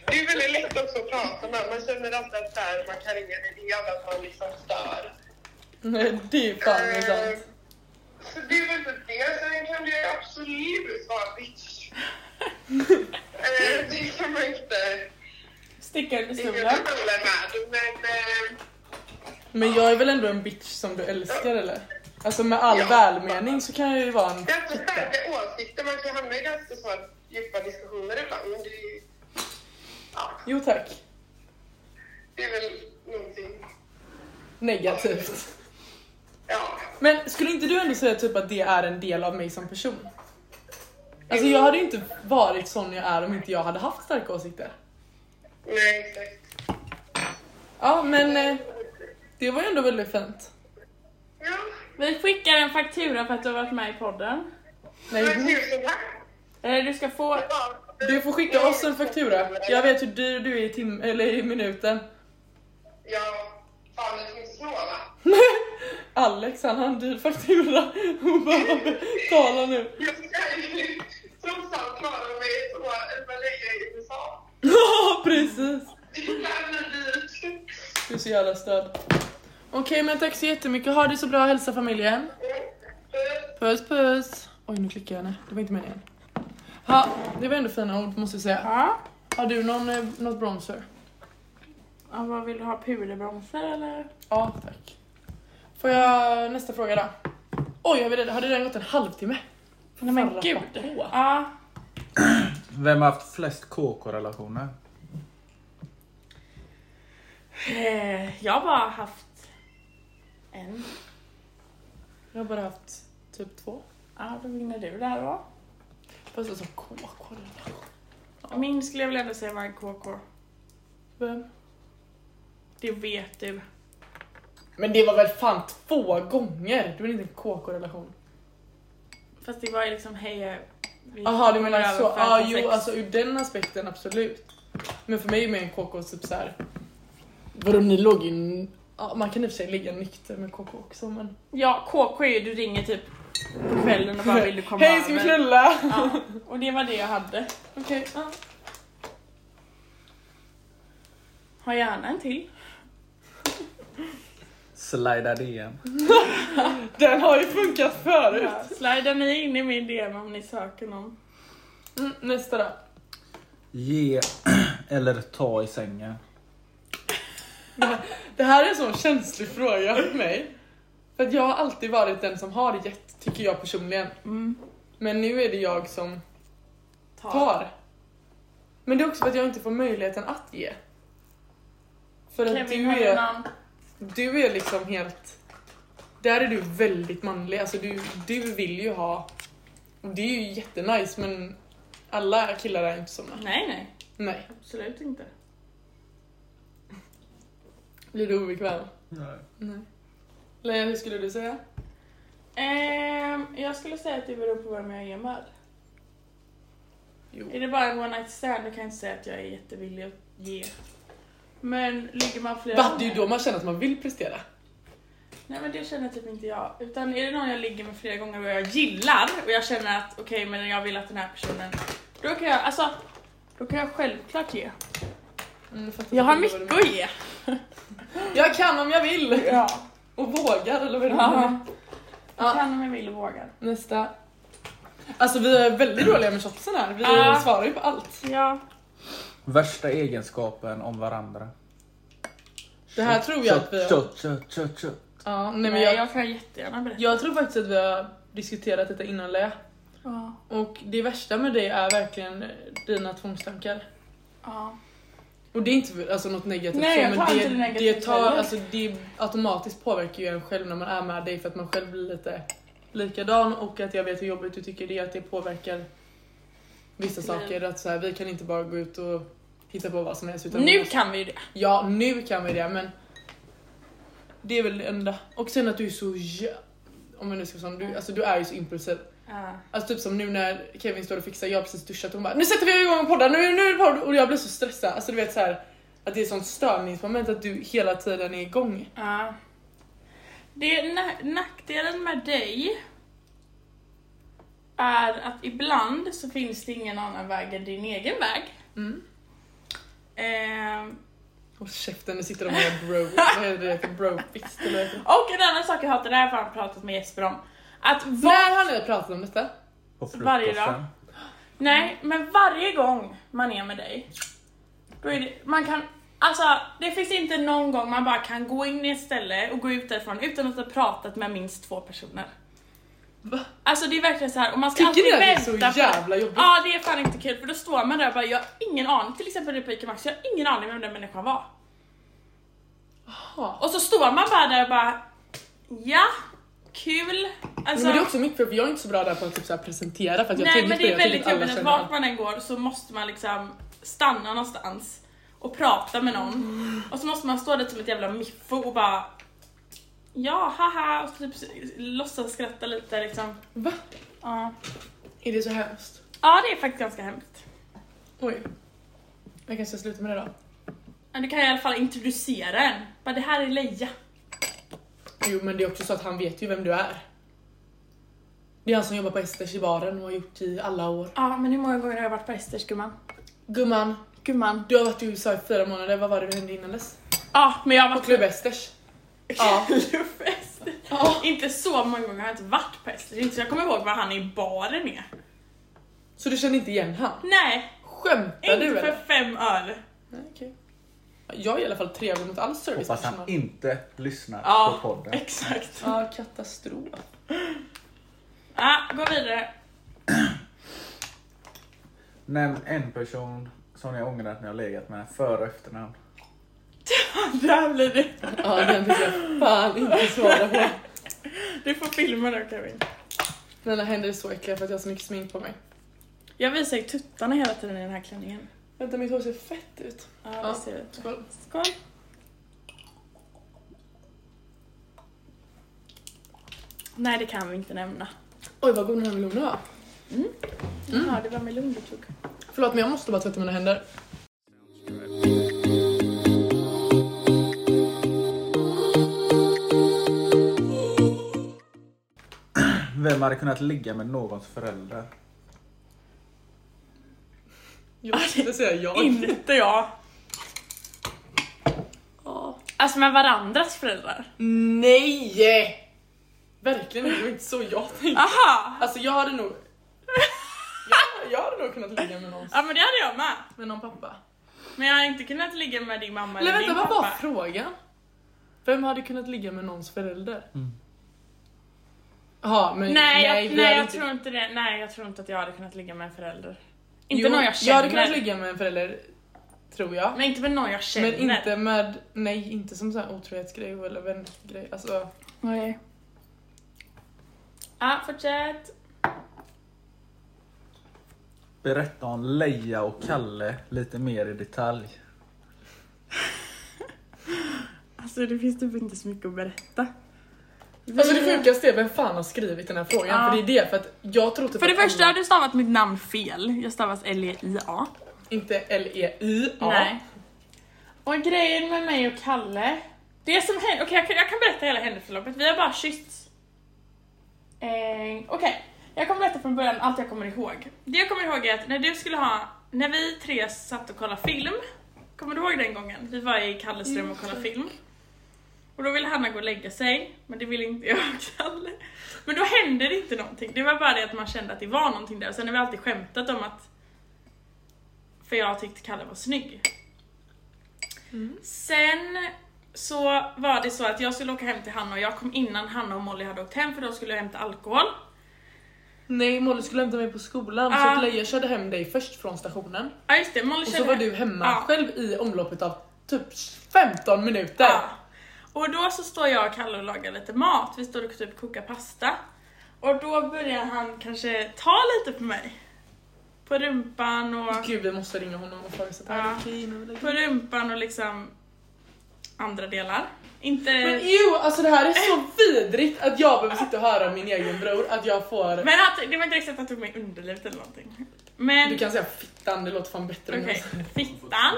Det är väldigt lätt också att prata med. Man känner alltid att så här, man kan ringa dig. Det är gärna att man liksom stör.
Nej, det är fan med
Eh,
sant.
så det är väl inte det. Sen kan du absolut vara bitch. eh, det kan man inte...
Sticka under
Det kan man
stolen.
inte hålla med. Men... Eh,
Men jag är väl ändå en bitch som du älskar eller? Alltså med all
Ja.
välmening så kan jag ju vara en...
Det är alltså starka åsikter, man kan hamna i ganska så här djupa diskussioner ibland. Men det är, ju- ja,
Jo tack.
det är väl någonting.
Negativt.
Ja.
Men skulle inte du ändå säga typ att det är en del av mig som person? Alltså jag hade ju inte varit sån jag är om inte jag hade haft starka åsikter.
Nej, exakt.
Ja men eh, det var ju ändå väldigt fint.
Ja,
Vi skickar en faktura för att du har varit med i podden.
men
Nej, Eh,
tusen tack.
Eller du ska få...
Ja.
du får skicka oss en faktura. Jag vet hur dyr du är i, tim- eller i minuten.
Ja, fan ni är så snåla.
Alex han har en dyr faktura. Hon bara betala nu.
Jag ska ju trots allt klara mig så men länge i USA.
Ja precis.
Det är dyrt. Mm.
Du är så jävla stöd. Okej men tack så jättemycket. Ha det så bra. Hälsa familjen. Puss puss. Oj nu klickar jag henne. Det var inte meningen. Ha, det var ändå fina ord måste jag säga.
Ja.
Har du någon, eh, något bronzer?
ja vad vill du ha? Puderbromsar eller?
Ja tack. Får jag nästa fråga då? Oj har, vi redan, har det redan gått en halvtimme?
Nej men
Fan,
gud.
rappa på.
Ja.
Vem har haft flest KK-relationer?
Eh, Jag har bara haft en.
Jag har bara haft typ två.
Ja, då vinner du där då.
Fast alltså KK
Min skulle jag väl ändå säga var en KK.
Vem?
Det vet du.
Men det var väl fan två gånger? Det var inte en KK-relation.
Fast det var ju liksom hej... eh, vi
Jaha du menar
kommer
så,
över
ja
fem
ah,
och
jo
sex.
alltså ur den aspekten absolut. Men för mig är mer en KK typ såhär, vadå ni låg ju, n- ja man kan i och för sig ligga nykter med KK också men.
Ja, KK är ju du ringer typ på kvällen och bara vill du komma
Hej ska vi
över?"
knulla?
Ja, och det var det jag hade.
Okej, ja.
Har gärna en till.
Slida DM.
Den har ju funkat förut.
Ja, Slida ni in i min DM om ni söker någon.
Mm, nästa då.
Ge eller ta i sängen.
Det här är en sån känslig fråga för mig. För att jag har alltid varit den som har gett, tycker jag personligen.
Mm.
Men nu är det jag som
Ta.
tar. Men det är också för att jag inte får möjligheten att ge. För att
Kevin,
du
har du
är,
någon?
du är liksom helt... Där är du väldigt manlig, alltså du, du vill ju ha... Och det är ju jättenice men alla killar är inte såna.
Nej, nej.
Nej.
Absolut inte.
Blir du obekväm?
Nej.
Nej. Eller hur skulle du säga?
Ehm, jag skulle säga att det beror på vem jag är med.
Jo.
Är det bara en one night stand då kan jag inte säga att jag är jättevillig att ge. Men ligger man flera
Va? Det är ju då man känner att man vill prestera.
Nej men det känner typ inte jag. Utan är det någon jag ligger med flera gånger och jag gillar och jag känner att okej men jag vill att den här personen, då kan jag, alltså, då kan jag självklart ge.
Mm, fattar
Jag har
inte vad du
mycket att ge.
menar. Jag kan om jag vill!
Ja.
Och vågar eller vad är det
ja.
Ja.
Jag kan om jag vill och vågar.
Nästa. Alltså vi är väldigt dåliga med shotsen här, vi
Ja.
svarar ju på allt.
Ja.
Värsta egenskapen om varandra.
Det här tror jag att vi har-
Kött, kött, kött, kött.
Ja, nej,
Nej,
men jag,
jag kan jättegärna berätta.
jag tror faktiskt att vi har diskuterat detta innan Lea.
Ja.
Och det värsta med det är verkligen dina tvångstankar.
Ja.
Och det är inte alltså, något negativt
Nej, jag
så,
tar
men
inte det
det, det,
negativt
tar,
heller.
alltså, det automatiskt påverkar ju en själv när man är med dig för att man själv blir lite likadan och att jag vet hur jobbigt du tycker det är att det påverkar vissa
Nej.
saker. Att så här, vi kan inte bara gå ut och hitta på vad som helst. Utan vi
Nu
måste-
kan vi ju det.
Ja, nu kan vi det men det är väl det enda. Och sen att du är så jä- om jag nu ska vara sån, du, alltså, du är ju så impulsiv.
Ja.
Alltså typ som nu när Kevin står och fixar, jag har precis duschat hon bara nu sätter vi igång podden, nu, nu är det podd och jag blir så stressad. Alltså du vet så här att det är ett sånt störningsmoment att du hela tiden är igång.
Ja. Det är na- nackdelen med dig är att ibland så finns det ingen annan väg än din egen väg.
Mm.
Ehm,
Och käften, nu sitter de och gör bro, vad är det för brofist eller vad heter det?
och en annan sak jag hatar, det här har jag fan pratat med Jesper om. Att var-
När har ni pratat om detta?
På
Varje dag.
frukosten.
Nej, men varje gång man är med dig, då är det, man kan, alltså det finns inte någon gång man bara kan gå in i ett ställe och gå ut därifrån utan att ha pratat med minst två personer.
Va?
Alltså det är verkligen så här och man ska
Tycker ni att det är
alltid
så
vänta på-
jävla jobbigt?
Ja det är fan inte kul för då står man där och bara jag har ingen aning, till exempel på Ica Maxi, jag har ingen aning vem den människan var.
Ja.
Och så står man bara där och bara ja, kul. Alltså,
men det är också mitt fel för jag är inte så bra där på att typ så här presentera för att jag
nej
tänker
men
på
det är
jag tänker
väldigt
att typ alla
jobbigt att
känner
vart man än går så måste man liksom stanna någonstans och prata med någon
Mm.
och så måste man stå där som ett jävla miffo och bara ja haha och så typ låtsas skratta lite liksom.
Va?
Ja.
Är det så hemskt?
ja det är faktiskt ganska hemskt.
Oj. Jag kanske ska sluta med det då.
Men du kan i alla fall introducera en. Bara det här är Leja.
Jo men det är också så att han vet ju vem du är. Det är han som jobbar på Esters i baren och har gjort i alla år.
Ja, men hur många gånger har jag varit på Esters gumman?
Gumman,
Gumman.
du har varit i USA i fyra månader, vad var det du hände innan dess?
Ja, men jag har
På
varit
Klubb Esters. Ja.
Klubb Esters. Inte så många gånger har jag inte varit på Esters. Inte så jag kommer ihåg vad han i baren är.
Så du känner inte igen han?
Nej,
Skämtar
inte
du
för
eller?
fem öre.
Nej, okej. Jag är i alla fall trevlig mot all service.
Hoppas han inte lyssnar
Ja,
på podden.
exakt. Ja,
Ja, katastrof.
gå vidare.
Nämn en person som ni ångrar att ni har legat med, före och efternamn.
Där blir det.
Ja, den vill jag fan inte svara på.
Du får filma då Kevin.
Mina händer är så äckliga för att jag har så mycket smink på mig.
Jag visar ju tuttarna hela tiden i den här klänningen.
Vänta, mitt hår ser fett ut.
Ja, det
Ja.
ser vi.
Skål.
Skål. Nej, det kan vi inte nämna.
Oj, vad god den här melonen var.
Mm. Ja, det var melon du tog.
Förlåt, men jag måste bara tvätta mina händer.
Vem hade kunnat ligga med någons föräldrar?
Jag måste inte säga jag.
Inte jag. Alltså med varandras föräldrar?
Nej! Verkligen inte, det var inte så jag tänkte.
Aha!
Alltså jag hade nog... Jag, jag hade nog kunnat ligga med någon,
Ja men det hade jag med.
med någon pappa.
Men jag hade inte kunnat ligga med din mamma
Eller
eller,
vänta,
din
vad var
pappa.
frågan? Vem hade kunnat ligga med någons förälder? Jaha, men
Nej, jag,
Mm. vi
nej,
hade
jag
inte-
tror inte det. Nej jag tror inte att jag hade kunnat ligga med en förälder. Inte
Jo,
någon jag
Jag
känner.
hade kunnat ligga med en förälder, tror jag.
Men inte med någon jag känner.
Men inte med, nej inte som sån här otrohetsgrej eller vängrej. Alltså,
Nej. Ja, fortsätt.
Berätta om Leia och Kalle lite mer i detalj.
Alltså det finns typ inte så mycket att berätta.
Alltså det sjukaste är vem fan har skrivit den här frågan?
Ja.
För det är det, för att jag tror typ
För det
att
första har
alla,
du stavat mitt namn fel. Jag stavas E L-E-I-A.
inte E L-E-I-A.
Nej. Och grejen med mig och Kalle. Det som hände, okej jag, kan- jag kan berätta hela händelseförloppet. Vi har bara kyssts. Eh, okej, jag kommer berätta från början allt jag kommer ihåg. Det jag kommer ihåg är att när du skulle ha, när vi tre satt och kollade film. Kommer du ihåg den gången? Vi var i Kalles rum och kollade film. Och då ville Hanna gå och lägga sig, men det ville inte jag och Kalle. Men då hände det inte någonting. Det var bara det att man kände att det var någonting där. Och sen har vi alltid skämtat om att för jag tyckte Kalle var snygg.
Mm.
Sen så var det så att jag skulle åka hem till Hanna och jag kom innan Hanna och Molly hade åkt hem för de skulle hämta alkohol.
Nej, Molly skulle hämta mig på skolan så
Ja.
att Leia körde hem dig först från stationen.
Ja just det, Molly
Och så
körde
var
hem.
du hemma
Ja.
själv i omloppet av typ 15 minuter.
Ja. Och då så står jag och Kalle och lagar lite mat, vi står och typ kokar pasta. Och då börjar han kanske ta lite på mig. På rumpan och...
Gud vi måste ringa honom och fråga så att
Ja.
han är okej nu. eller?
På rumpan och liksom andra delar. Inte...
Men ew, alltså det här är så
Eh.
vidrigt att jag behöver sitta och höra om min egen bror att jag får...
Men att, det var inte riktigt att han tog mig i underlivet eller någonting. Men
Du kan säga fittan, det låter fan bättre.
okej,
än jag säger.
fittan.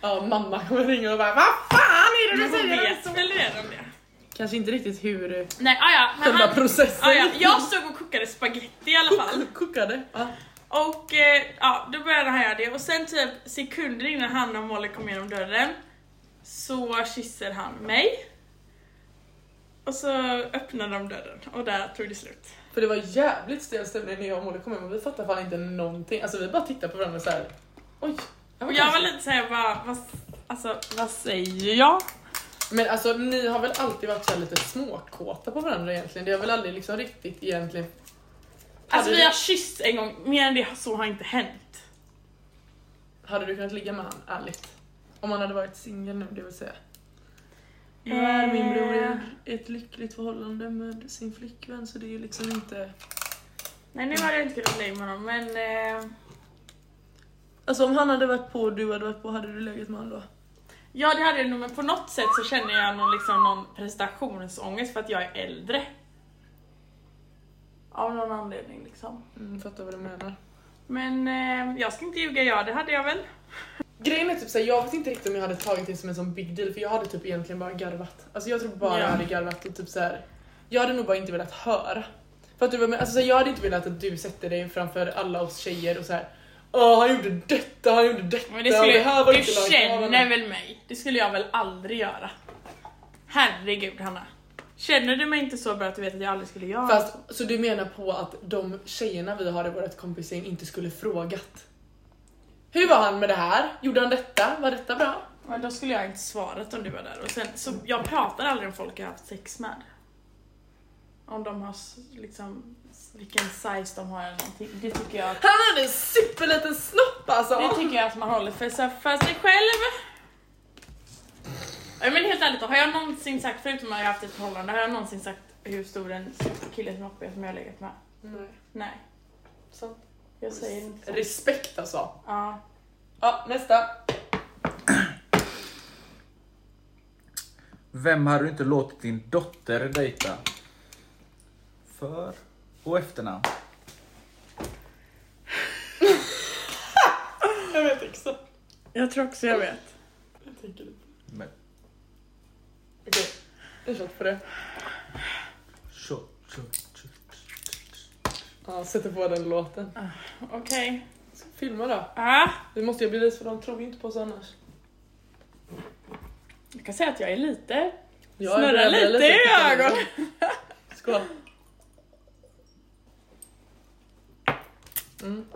Ja, mamma kommer ringa och bara Vad fan är det du
Men hon
säger?
vet väl redan det?
Kanske inte riktigt hur
Nej, ah ja, men
själva
han,
processen
ah ja, jag stod och kokade spaghetti i alla fall.
kokade. Ja.
Och eh, ja, då började han göra det och sen typ sekunder innan han och Molly kom genom dörren så kysser han mig. Och så öppnade de dörren och där tog det slut.
För det var jävligt stel stämning när jag och Molly kom hem och vi fattade fan inte någonting. Alltså vi bara tittade på varandra så här. Oj. det
Och jag var
konstigt.
lite såhär bara, vad, alltså, vad säger jag?
Men alltså ni har väl alltid varit så här lite småkåta på varandra egentligen? Det har väl aldrig liksom riktigt egentligen...
Alltså vi
Hade du-
har kysst en gång, mer än det så har inte hänt.
Hade du kunnat ligga med han, ärligt? Om han hade varit singel nu, det vill säga.
Nu är min bror i
ett lyckligt förhållande med sin flickvän så det är ju liksom inte...
Nej nu hade jag inte kunnat lägga med honom men eh,
Alltså om han hade varit på och du hade varit på, hade du legat med honom då?
Ja det hade jag nog men på något sätt så känner jag någon, liksom, någon prestationsångest för att jag är äldre. Av någon anledning liksom.
Mm, fattar vad du menar.
Men eh, jag ska inte ljuga, ja det hade jag väl.
Grejen är typ såhär, jag vet inte riktigt om jag hade tagit det som en sån big deal för jag hade typ egentligen bara garvat. Alltså jag tror bara
Ja.
jag hade garvat och typ såhär, jag hade nog bara inte velat höra. För att du var med, alltså såhär, jag hade inte velat att du sätter dig framför alla oss tjejer och såhär Åh han gjorde detta, han gjorde detta,
Men det skulle,
och det här var
du
inte lagligt." Ja, men-
känner väl mig? Det skulle jag väl aldrig göra. Herregud Hanna. Känner du mig inte så bra att du vet att jag aldrig skulle göra
Fast, så du menar på att de tjejerna vi har i vårt kompisgäng inte skulle frågat? Hur var han med det här? Gjorde han detta? Var detta bra?
Men då skulle jag inte svarat om du var där. Och sen, så jag pratar aldrig om folk jag har haft sex med. Om de har s- liksom, s- vilken size de har eller någonting. Det tycker jag att
Han hade en superliten snopp alltså!
Det tycker jag att man håller för, så här, för sig själv. Ja, Men helt ärligt då, har jag någonsin sagt, förutom att jag har haft ett förhållande, har jag någonsin sagt hur stor en kille som hoppar är som jag har legat med?
Nej,
Nej,
sant.
jag säger inte så.
Respekt alltså.
Ja.
Ja, nästa.
Vem hade du inte låtit din dotter dejta? För och efternamn.
Jag vet exakt.
Jag tror också jag vet.
Jag tänker lite.
Men
Okej, jag kört på det.
tjo, tjo, tjo.
Ja, sätter på den låten.
Okej.
Ska vi filma då?
Ja.
Vi måste ju ha bevis för de tror ju inte på oss annars.
Jag kan säga att jag är lite,
Jag är
snurrar
rädd, jag är
lite i
lite-
ögonen.
Skål. Mm.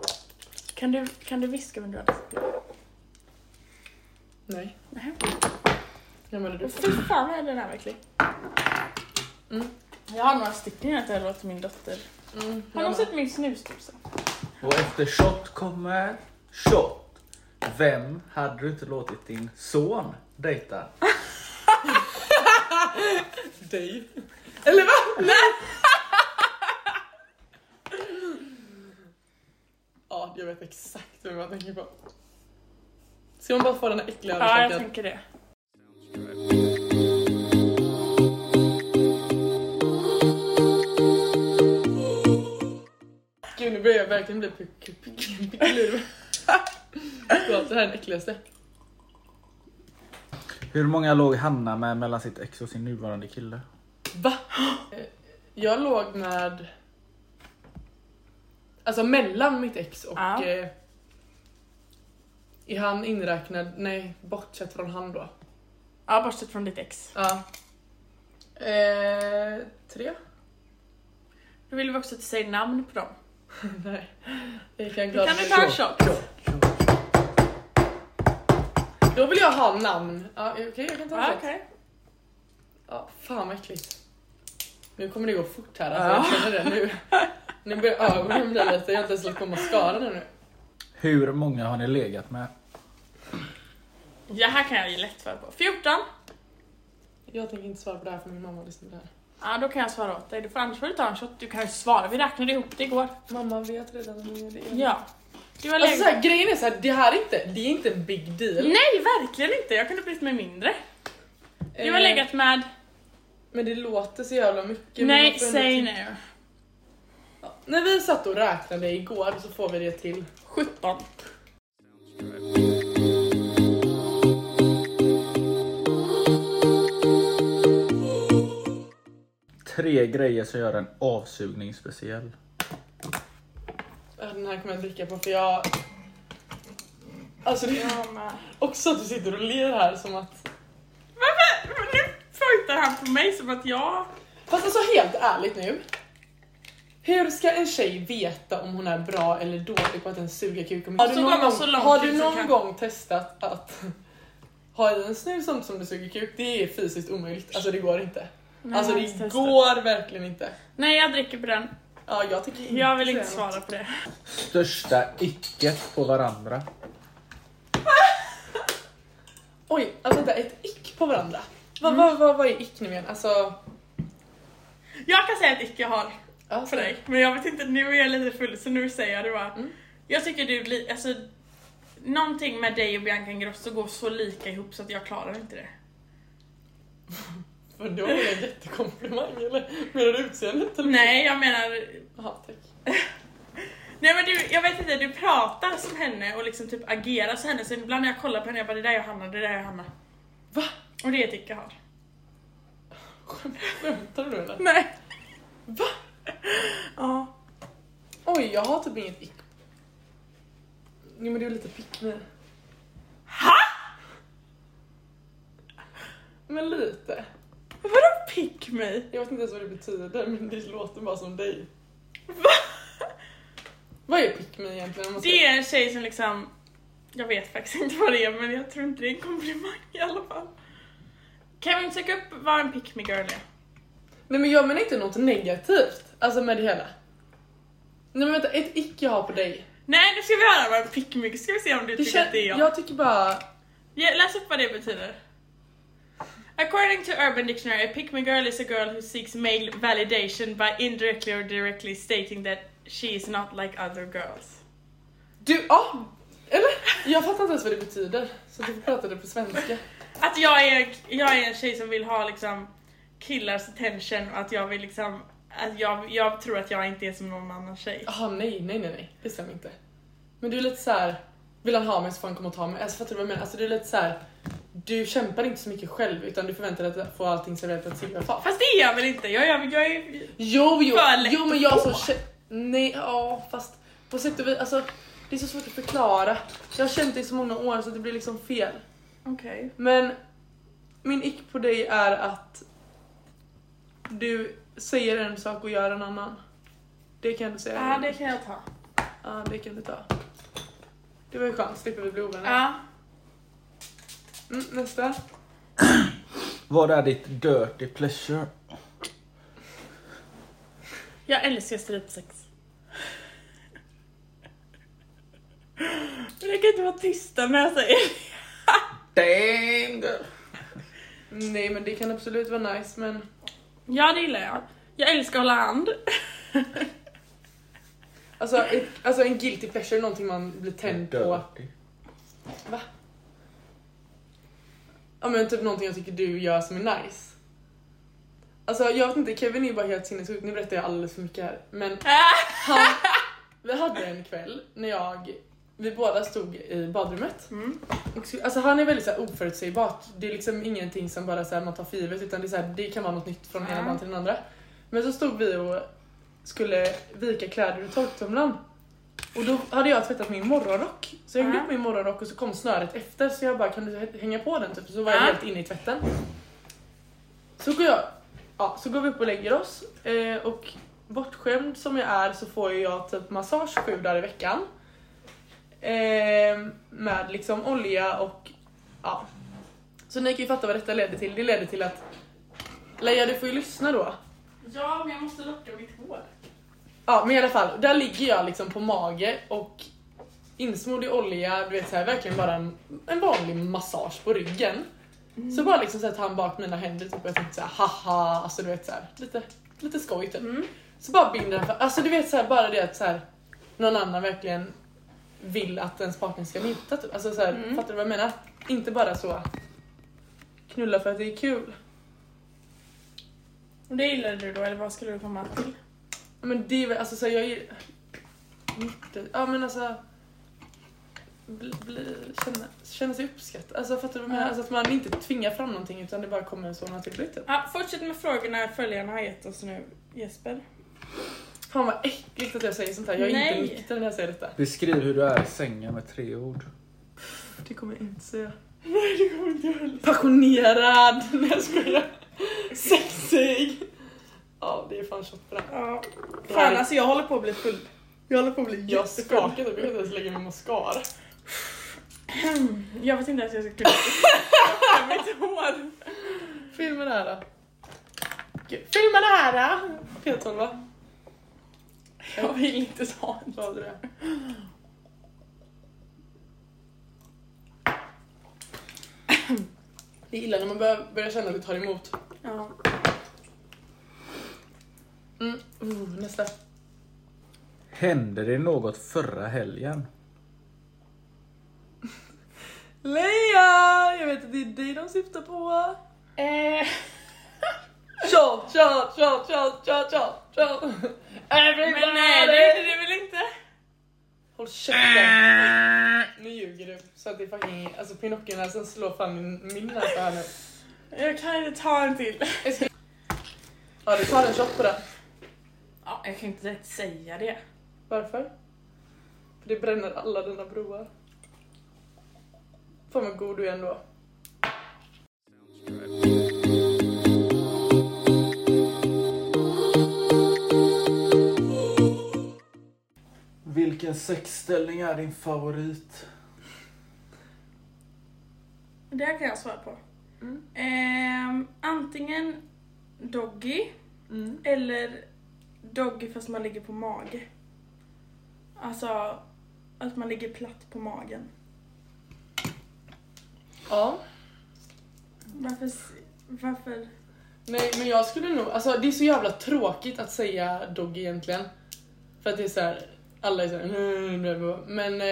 Kan du, kan du viska vem du hade sex med?
Nej.
Nej.
Ja, men det är
Åh,
du.
Fy fan vad är den här verkligen?
Mm.
Jag har några stycken att jag låter min dotter.
Mm,
Har
jag
någon
med.
sett min snusdosa?
Och efter shot kommer shot. Vem hade du inte låtit din son dejta?
dig. Eller va? Nej! ja, jag vet exakt vem jag tänker på. Ska man bara få den här äckliga
Ja, jag
överkäken?
tänker det.
nu börjar jag verkligen bli pickelur. Förlåt, det här är det äckligaste.
Hur många låg Hanna med mellan sitt ex och sin nuvarande kille?
Va? Eh, Jag låg med... Alltså mellan mitt ex och...
Ja.
Eh, är han inräknad? Nej, bortsett från han då.
Ja, bortsett från ditt ex.
Ja. Eh, tre?
Då vill vi också att du säger namn på dem.
Nej. Jag kan
Kan
glad.
du ta en shot?
Då vill jag ha namn. Ja, Okej, jag kan ta en
Ja,
shot.
okej.
Ja, fan vad äckligt. Nu kommer det gå fort här alltså, jag känner det nu. Nu börjar ögonen bli lite, jag har inte ens lagt på mascaran ännu.
Hur många har ni legat med?
Ja, här kan jag ge lätt svar på. 14.
Jag tänker inte svara på det här för min mamma lyssnar på det här.
Ja, då kan jag svara åt dig. Du får, annars får du ta en shot. Du kan ju svara, vi räknade ihop det igår.
Mamma vet redan hur det är.
Ja. Du har
Alltså
legat...
så här, grejen är så här, det här är inte, det är inte en big deal.
Nej, verkligen inte. Jag kunde brytt mig mindre. Du har
Eh,
legat med...
Men det låter så jävla mycket. men man
Nej,
får ändå
säg
till-
nu.
Ja, När vi satt och räknade igår så får vi det till.
17.
Tre grejer som gör en avsugning speciell.
Äh, Den här kommer jag dricka på för jag... Alltså det är
Jag med.
också att du sitter och ler här som att...
Varför? men Nu pojkar han på mig som att jag...
Fast alltså helt ärligt nu. Hur ska en tjej veta om hon är bra eller dålig på att en suga kuk? Om
Har
inte-
du
någon
gått
gång,
så långt
har
ut
du
så
någon
kan-
gång testat att ha i en snus samtidigt som du suger kuk? Det är fysiskt omöjligt. Alltså det går inte.
Nej,
alltså
jag har inte
det
testat.
går verkligen inte.
Nej, jag dricker på den.
Ja, jag tänker inte
Jag vill
säga
inte
något.
svara på det.
Största icket på varandra.
Oj, alltså vänta, ett ick på varandra. Vad
Mm.
vad vad vad är ick nu igen? Alltså...
Jag kan säga att icke har
alltså
för dig, men jag vet inte, nu är jag lite full så nu säger jag det bara.
Mm.
Jag tycker du, li- alltså, någonting med dig och Bianca Ingrosso går så lika ihop så att jag klarar inte det.
För då var Alltså, det en jättekomplimang eller? Menar du utseendet eller?
Nej, jag menar,
Jaha, tack.
nej men du, jag vet inte, du pratar som henne och liksom typ agerar som henne så ibland när jag kollar på henne jag bara det där är Hanna, det där är Hanna.
Va?
Och det är ett icke har.
Skämtar du nu eller?
Nej. Va? Ja.
Oj, jag har typ inget ick. Jo men du är lite pick med.
Ha?
Men lite.
Vadå pick mig?
Jag vet inte ens vad det betyder men det låter bara som dig.
Va?
Vad är pick med egentligen? om man
Det
säger?
är en tjej som liksom, jag vet faktiskt inte vad det är men jag tror inte det är en komplimang i alla fall. Kan vi söka upp vad en pick me girl är?
Nej men jag menar inte något negativt. Alltså med det hela. Nej men vänta, ett ick jag har på dig.
Nej nu ska vi höra vad en pick me ska vi se om du
Det
tycker
kän-
att det är jag.
jag tycker bara...
Ja, läs upp vad det betyder. According to Urban Dictionary, a pick me girl is a girl who seeks male validation by indirectly or directly stating that she is not like other girls.
Du, ja! Eller? Jag fattar inte ens vad det betyder. Så du får prata det på svenska.
Att jag är, jag är en tjej som vill ha liksom killars attention och att jag vill liksom att jag, jag tror att jag inte är som någon annan tjej.
Jaha, nej, nej, nej, nej. Det stämmer inte. Men du är lite så här. vill han ha mig så får han komma och ta mig. Alltså fattar du vad jag menar? Alltså du är lite så här. du kämpar inte så mycket själv utan du förväntar dig att få allting serverat på ett silverfat.
Fast det är jag väl inte? Jag, jag, jag är...
Jo, jo,
För lätt
jo men
att
jag
få.
så kä- Nej, ja fast på sätt och vis, alltså det är så svårt att förklara. Jag har känt dig i så många år så det blir liksom fel.
Okej.
Men min ick på dig är att du säger en sak och gör en annan. Det kan du säga.
Ja, det kan jag ta.
Ja, det kan du ta. Det var ju skönt, slipper vi bli ovänner.
Ja.
Mm, nästa.
Vad är ditt dirty pleasure?
Jag älskar strypsex. Men jag kan inte vara tysta när jag säger det.
Damn girl.
Nej men det kan absolut vara nice men
Ja, det gillar jag. Jag älskar att hålla hand.
alltså, ett, alltså en guilty pleasure är någonting man blir tänd på.
Dirty.
Ja men typ någonting jag tycker du gör som är nice. Alltså jag vet inte, Kevin är ju bara helt sinnessjuk, nu berättar jag alldeles för mycket här. Men
Äh,
han, Vi hade en kväll när jag, vi båda stod i badrummet.
Mm.
Och så- Alltså han är väldigt så här oförutsägbart. Det är liksom ingenting som bara så här man tar för givet utan det, är så här, det kan vara något nytt från ena
Ja.
dagen till den andra. Men så stod vi och skulle vika kläder ur torktumlaren. Och då hade jag tvättat min morgonrock. Så jag hängde
Ja.
upp min morgonrock och så kom snöret efter så jag bara kan du hänga på den typ? Så var jag
Ja.
helt inne i tvätten. Så går jag, ja, så går vi upp och lägger oss eh, och bortskämd som jag är så får ju jag typ massage sju dagar i veckan. Ehm, med liksom olja och ja. Så ni kan ju fatta vad detta ledde till. Det ledde till att Leia du får ju lyssna då.
Ja, men jag måste locka mitt hår.
Ja men i alla fall, där ligger jag liksom på mage och insmord i olja, du vet så här, verkligen bara en, en vanlig massage på ryggen. Så bara liksom så att han bak mina händer typ, och jag tänkte så här, haha, alltså du vet så här, lite, lite skoj typ. Så bara binder han, fast- alltså du vet så här, bara det att så här, någon annan verkligen vill att ens partner ska njuta typ. Alltså så här, fattar du vad jag menar? Inte bara så knulla för att det är kul.
Och det gillade du då, eller vad skulle du komma till?
Ja, Men det är väl, alltså så här, jag är... Mitt- Ja men alltså... Bli, bli, känna, känna sig uppskattad. Alltså fattar du vad jag menar?
Ja.
Alltså, att man inte tvingar fram någonting utan det bara kommer så naturligt typ.
Ja, fortsätt med frågorna följarna har gett oss nu, Jesper.
Fan vad äckligt att jag säger sånt här. Jag är
Nej.
inte nykter när jag säger detta.
Beskriv hur du är i sängen med tre ord.
Det kommer jag inte säga.
Nej, det kommer inte jag heller.
Passionerad! Nej jag skojar. Sexig! Ja det är fan shotbra.
Ja. Fan alltså jag håller på att bli full. Jag håller på att bli
Jag
jättefull.
skakar typ, jag kan inte ens lägga min mascara.
Jag vet inte ens hur jag ska klippa upp mitt hår.
Filma det här då. Gud, Filma det här då! P12 va?
Jag vill inte ta en.
Vad hade du? Det är illa när man börjar, börjar känna att det tar emot.
Ja.
Mm. Uh, nästa.
Hände det något förra helgen?
Leia! Jag vet att det är dig de syftar på.
Eh,
Kör, kör, kör, kör, kör, kör, kör. Everybody!
men nej, det är det väl inte?
Håll käften. Nu ljuger du. Så att det är fucking, alltså pinocchio-näsan slår fan min, min näsa här nu.
Jag kan inte ta en till.
Ja, du tar en shot på den.
Ja, jag kan inte direkt säga det.
Varför? För det bränner alla dina broar. Fan vad god du är ändå.
Vilken sexställning är din favorit?
Det här kan jag svara på. Mm. Ehm, antingen doggy Mm. eller doggy fast man ligger på mage. Alltså att man ligger platt på magen.
Ja.
Varför? s- Varför?
Nej men jag skulle nog, alltså det är så jävla tråkigt att säga dog egentligen. För att det är så här, alla är såhär men eh,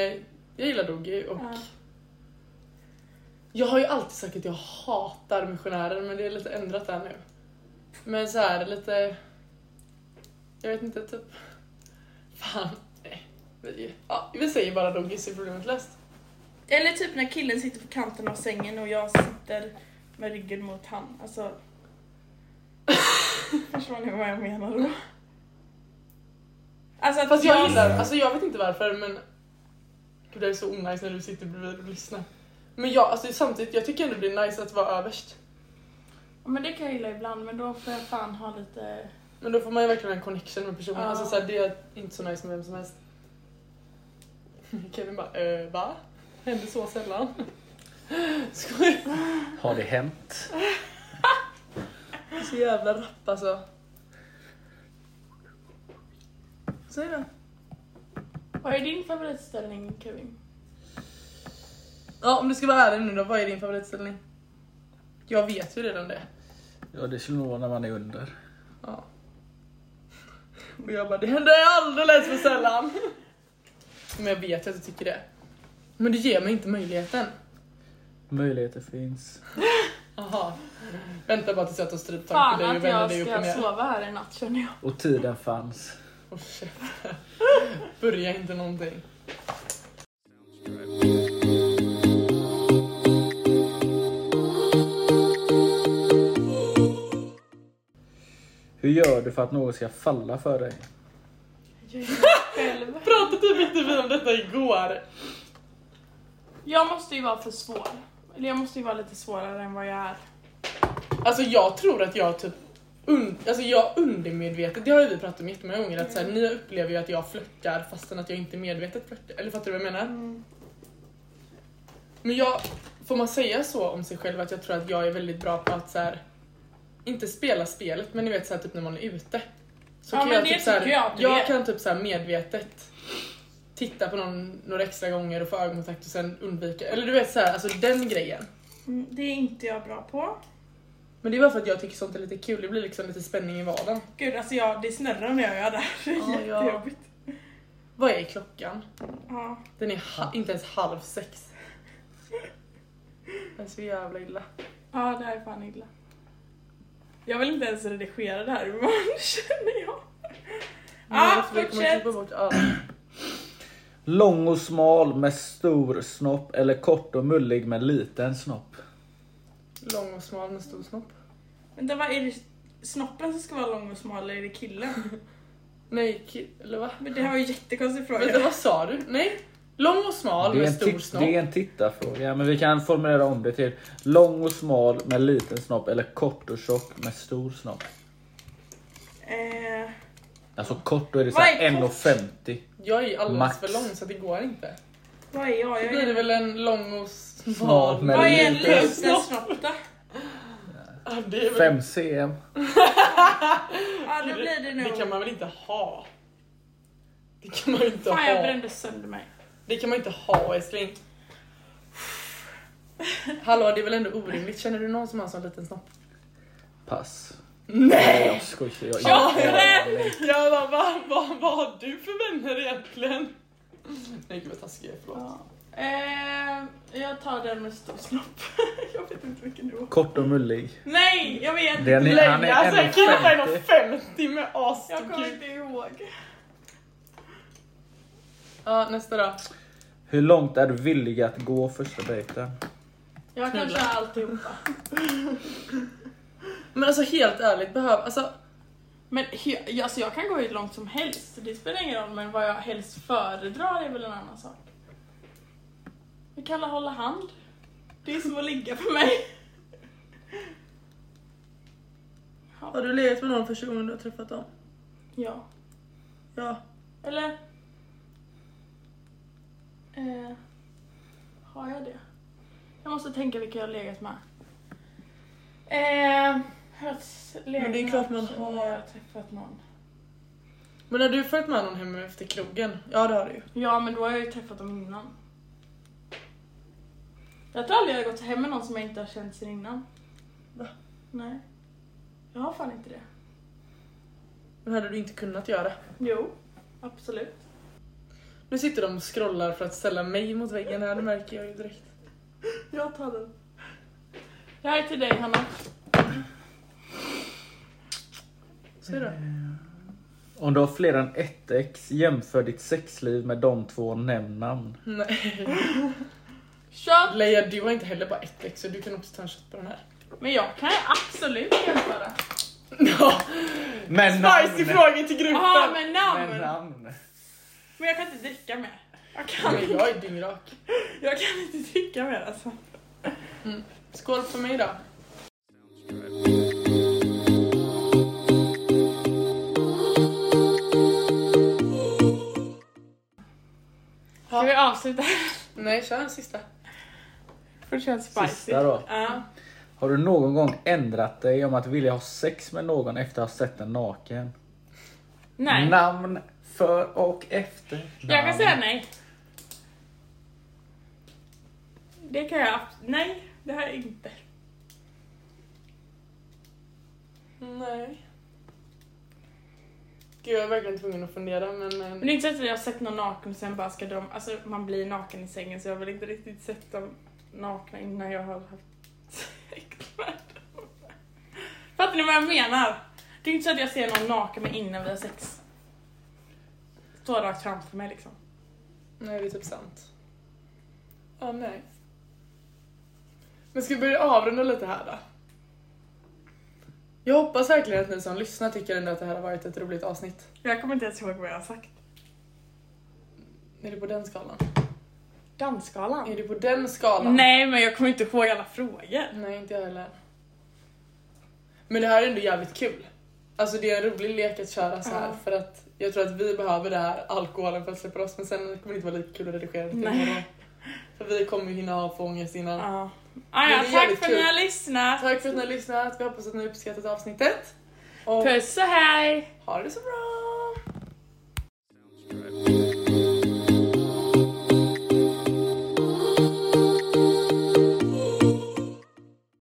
jag gillar doggy och
Ja.
jag har ju alltid sagt att jag hatar missionärer men det är lite ändrat där nu. Men så här lite, jag vet inte typ, fan nej. Vi, ja, vi säger bara doggy så är problemet löst.
Eller typ när killen sitter på kanten av sängen och jag sitter med ryggen mot han. Alltså. Förstår ni vad jag menar då? Alltså att
Fast jag gillar, alltså jag vet inte varför men Gud det är så onajs när du sitter bredvid och lyssnar. Men jag, alltså samtidigt, jag tycker ändå det blir nice att vara överst.
Ja, Men det kan jag gilla ibland men då får jag fan ha lite
Men då får man ju verkligen en connection med personen.
Ja.
Alltså såhär, det är inte så nice med vem som helst. Kevin bara, äh, va? Händer så sällan. Skoj.
Har det hänt?
Så jävla rapp alltså. Säg det.
Vad är din favoritställning Kevin?
Ja om du ska vara ärlig nu då, vad är din favoritställning? Jag vet ju redan det.
Ja, det skulle nog vara när man är under.
Ja. Och jag bara, det händer alldeles för sällan. Men jag vet ju att du tycker det. Men du ger mig inte möjligheten.
Möjligheter finns.
Aha. Vänta bara tills jag tar stryptag
Fan
på dig
att
och vänder
jag
dig upp och
ska
ner.
sova här i natt känner jag.
Och tiden fanns.
Och käften. Börja inte någonting.
Hur gör du för att någon ska falla för dig?
Pratade typ inte vi om detta igår?
Jag måste ju vara för svår. Eller jag måste ju vara lite svårare än vad jag är.
Alltså jag tror att jag typ un, alltså jag undermedvetet, det har ju vi pratat om jättemånga gånger, att så här, ni upplever ju att jag flörtar fastän att jag inte medvetet flörtar. Eller fattar du vad jag menar?
Mm.
Men jag, får man säga så om sig själv att jag tror att jag är väldigt bra på att så här, inte spela spelet men ni vet så här, typ när man är ute. Så typ
Ja, men det
så här,
tycker jag att du är.
jag kan typ så här medvetet titta på någon några extra gånger och få ögonkontakt och sen undvika. Eller du vet så här, alltså den grejen.
Mm, Det är inte jag bra på.
Men det är bara för att jag tycker sånt är lite kul, det blir liksom lite spänning i vardagen.
Gud, alltså jag, det snurrar när jag gör det här. Det är
Ja, ja.
jättejobbigt.
Vad är klockan?
Ja.
Den är ha- inte ens halv sex. Det är så jävla illa.
ja, det här är fan illa. Jag vill inte ens redigera det här imorgon känner jag. Ja,
Nej, för jag kommer
Ah, fortsätt.
klippa bort allt.
Lång och smal med stor snopp eller kort och mullig med liten snopp?
Lång och smal med stor snopp.
Vänta, vad är det snoppen som ska vara lång och smal eller är det killen?
Nej, ki- eller va?
Men det här var ju en jättekonstig
Vänta,
fråga.
vad sa du? Nej. Lång och smal
Det är,
med
en
stor
titt-
snopp.
det är en tittarfråga, men vi kan formulera om det till lång och smal med liten snopp eller kort och tjock med stor snopp.
Eh,
Alltså kort, då är det
Vad är
såhär
kort?
1,50.
Jag är alldeles
Max.
för lång så det går inte.
vad är jag?
Då
jag
blir det
är...
väl en lång och smal.
Smal med-
Vad är en
liten
liten snopp då?
Ja, det, är väl,
5 cm.
Ja, då blir det
det kan
nog...
man väl inte ha? Det kan man ju inte
Fan,
ha.
jag brände sönder mig.
Det kan man inte ha älskling. Hallå det är väl ändå orimligt, känner du någon som har en sån liten snopp?
Pass.
Nej!
Jag skojar. Jag,
Ja,
jag, jag,
Jag bara, vad, vad, vad har du för vänner egentligen? Nej gud vad taskig jag är, förlåt.
Ja. Eh, jag tar den med stor snopp. jag vet inte vilken du var.
kort och mullig.
Nej, jag vet!
Det är ni, han
Länge,
är
alltså en kille på
1,50.
1,50 med
Jag kommer
astokul.
inte ihåg.
Ja nästa då.
Hur långt är du villig att gå första dejten?
Jag kan
Knulla.
köra alltihopa.
Men alltså helt ärligt, behöver, alltså
Men he- alltså jag kan gå hur långt som helst, det spelar ingen roll. Men vad jag helst föredrar är väl en annan sak. Vi kallar hålla hand. Det är som att ligga för mig.
har du legat med någon första gången du har träffat dem?
Ja.
Ja.
Eller... Eh, har jag det? Jag måste tänka vilka jag har legat med. Eh, jag har legat
Men det är
med
klart man
någon och
har.
Jag har träffat någon.
Men har du följt med någon hem efter krogen? Ja det har du ju.
Ja, men då har jag ju träffat dem innan. Jag tror aldrig jag har gått hem med någon som jag inte har känt sedan innan.
Va?
Nej. Jag har fan inte det.
Men hade du inte kunnat göra?
Jo, absolut.
Nu sitter de och scrollar för att ställa mig mot väggen här, det märker jag ju direkt.
Jag tar den. Det här är till dig, Hanna.
Ser du?
Mm. Om du har fler än ett ex, jämför ditt sexliv med de två nämn namn.
Nej.
Kör!
Leia, du har inte heller bara ett ex så du kan också ta en shot på den här.
Men jag kan absolut jämföra.
Ja,
Men
spicy frågor till gruppen!
Ja, Ah, men namn!
Men namn.
Men jag kan inte dricka mer. Jag kan,
men... Jag är dyngrak.
jag kan inte dricka mer alltså.
Skål för mig då.
Ska vi avsluta?
Nej, kör en sista.
För det känns spicy.
Sista då.
Ja.
Har du någon gång ändrat dig om att vilja ha sex med någon efter att ha sett den naken?
Nej.
Namn för och efter.
Jag kan
namn.
säga nej. Det kan jag abs- Nej, det har jag inte.
Nej. Gud, jag är verkligen tvungen att fundera men... eh,
Men det är inte så att jag har sett någon naken och sen bara ska de... Alltså man blir naken i sängen så jag har väl inte riktigt sett dem nakna innan jag har haft sex med dem. Fattar ni vad jag menar? Det är inte så att jag ser någon naken men innan vi har sex. står rakt framför mig liksom.
Nej, det är typ sant. Ja, nej. Men ska vi börja avrunda lite här då? Jag hoppas verkligen att ni som lyssnar tycker ändå att det här har varit ett roligt avsnitt.
Jag kommer inte ens ihåg vad jag har sagt.
Är du på den skalan?
Dansskalan?
Är du på den skalan?
Nej men jag kommer inte ihåg alla frågor.
Nej, inte jag heller. Men det här är ändå jävligt kul. Alltså det är en rolig lek att köra så här
Ja.
för att jag tror att vi behöver det här alkoholen för att släppa loss men sen kommer det inte vara lika kul att redigera det till
Nej.
imorgon. För vi kommer ju hinna ha få ångest innan.
Ja.
Men
Ah,
det
ja,
är
tack
jävligt
för att ni
kul.
har lyssnat.
Tack för att ni har lyssnat, vi hoppas att ni har uppskattat avsnittet. Och
Puss och hej!
ha det så bra!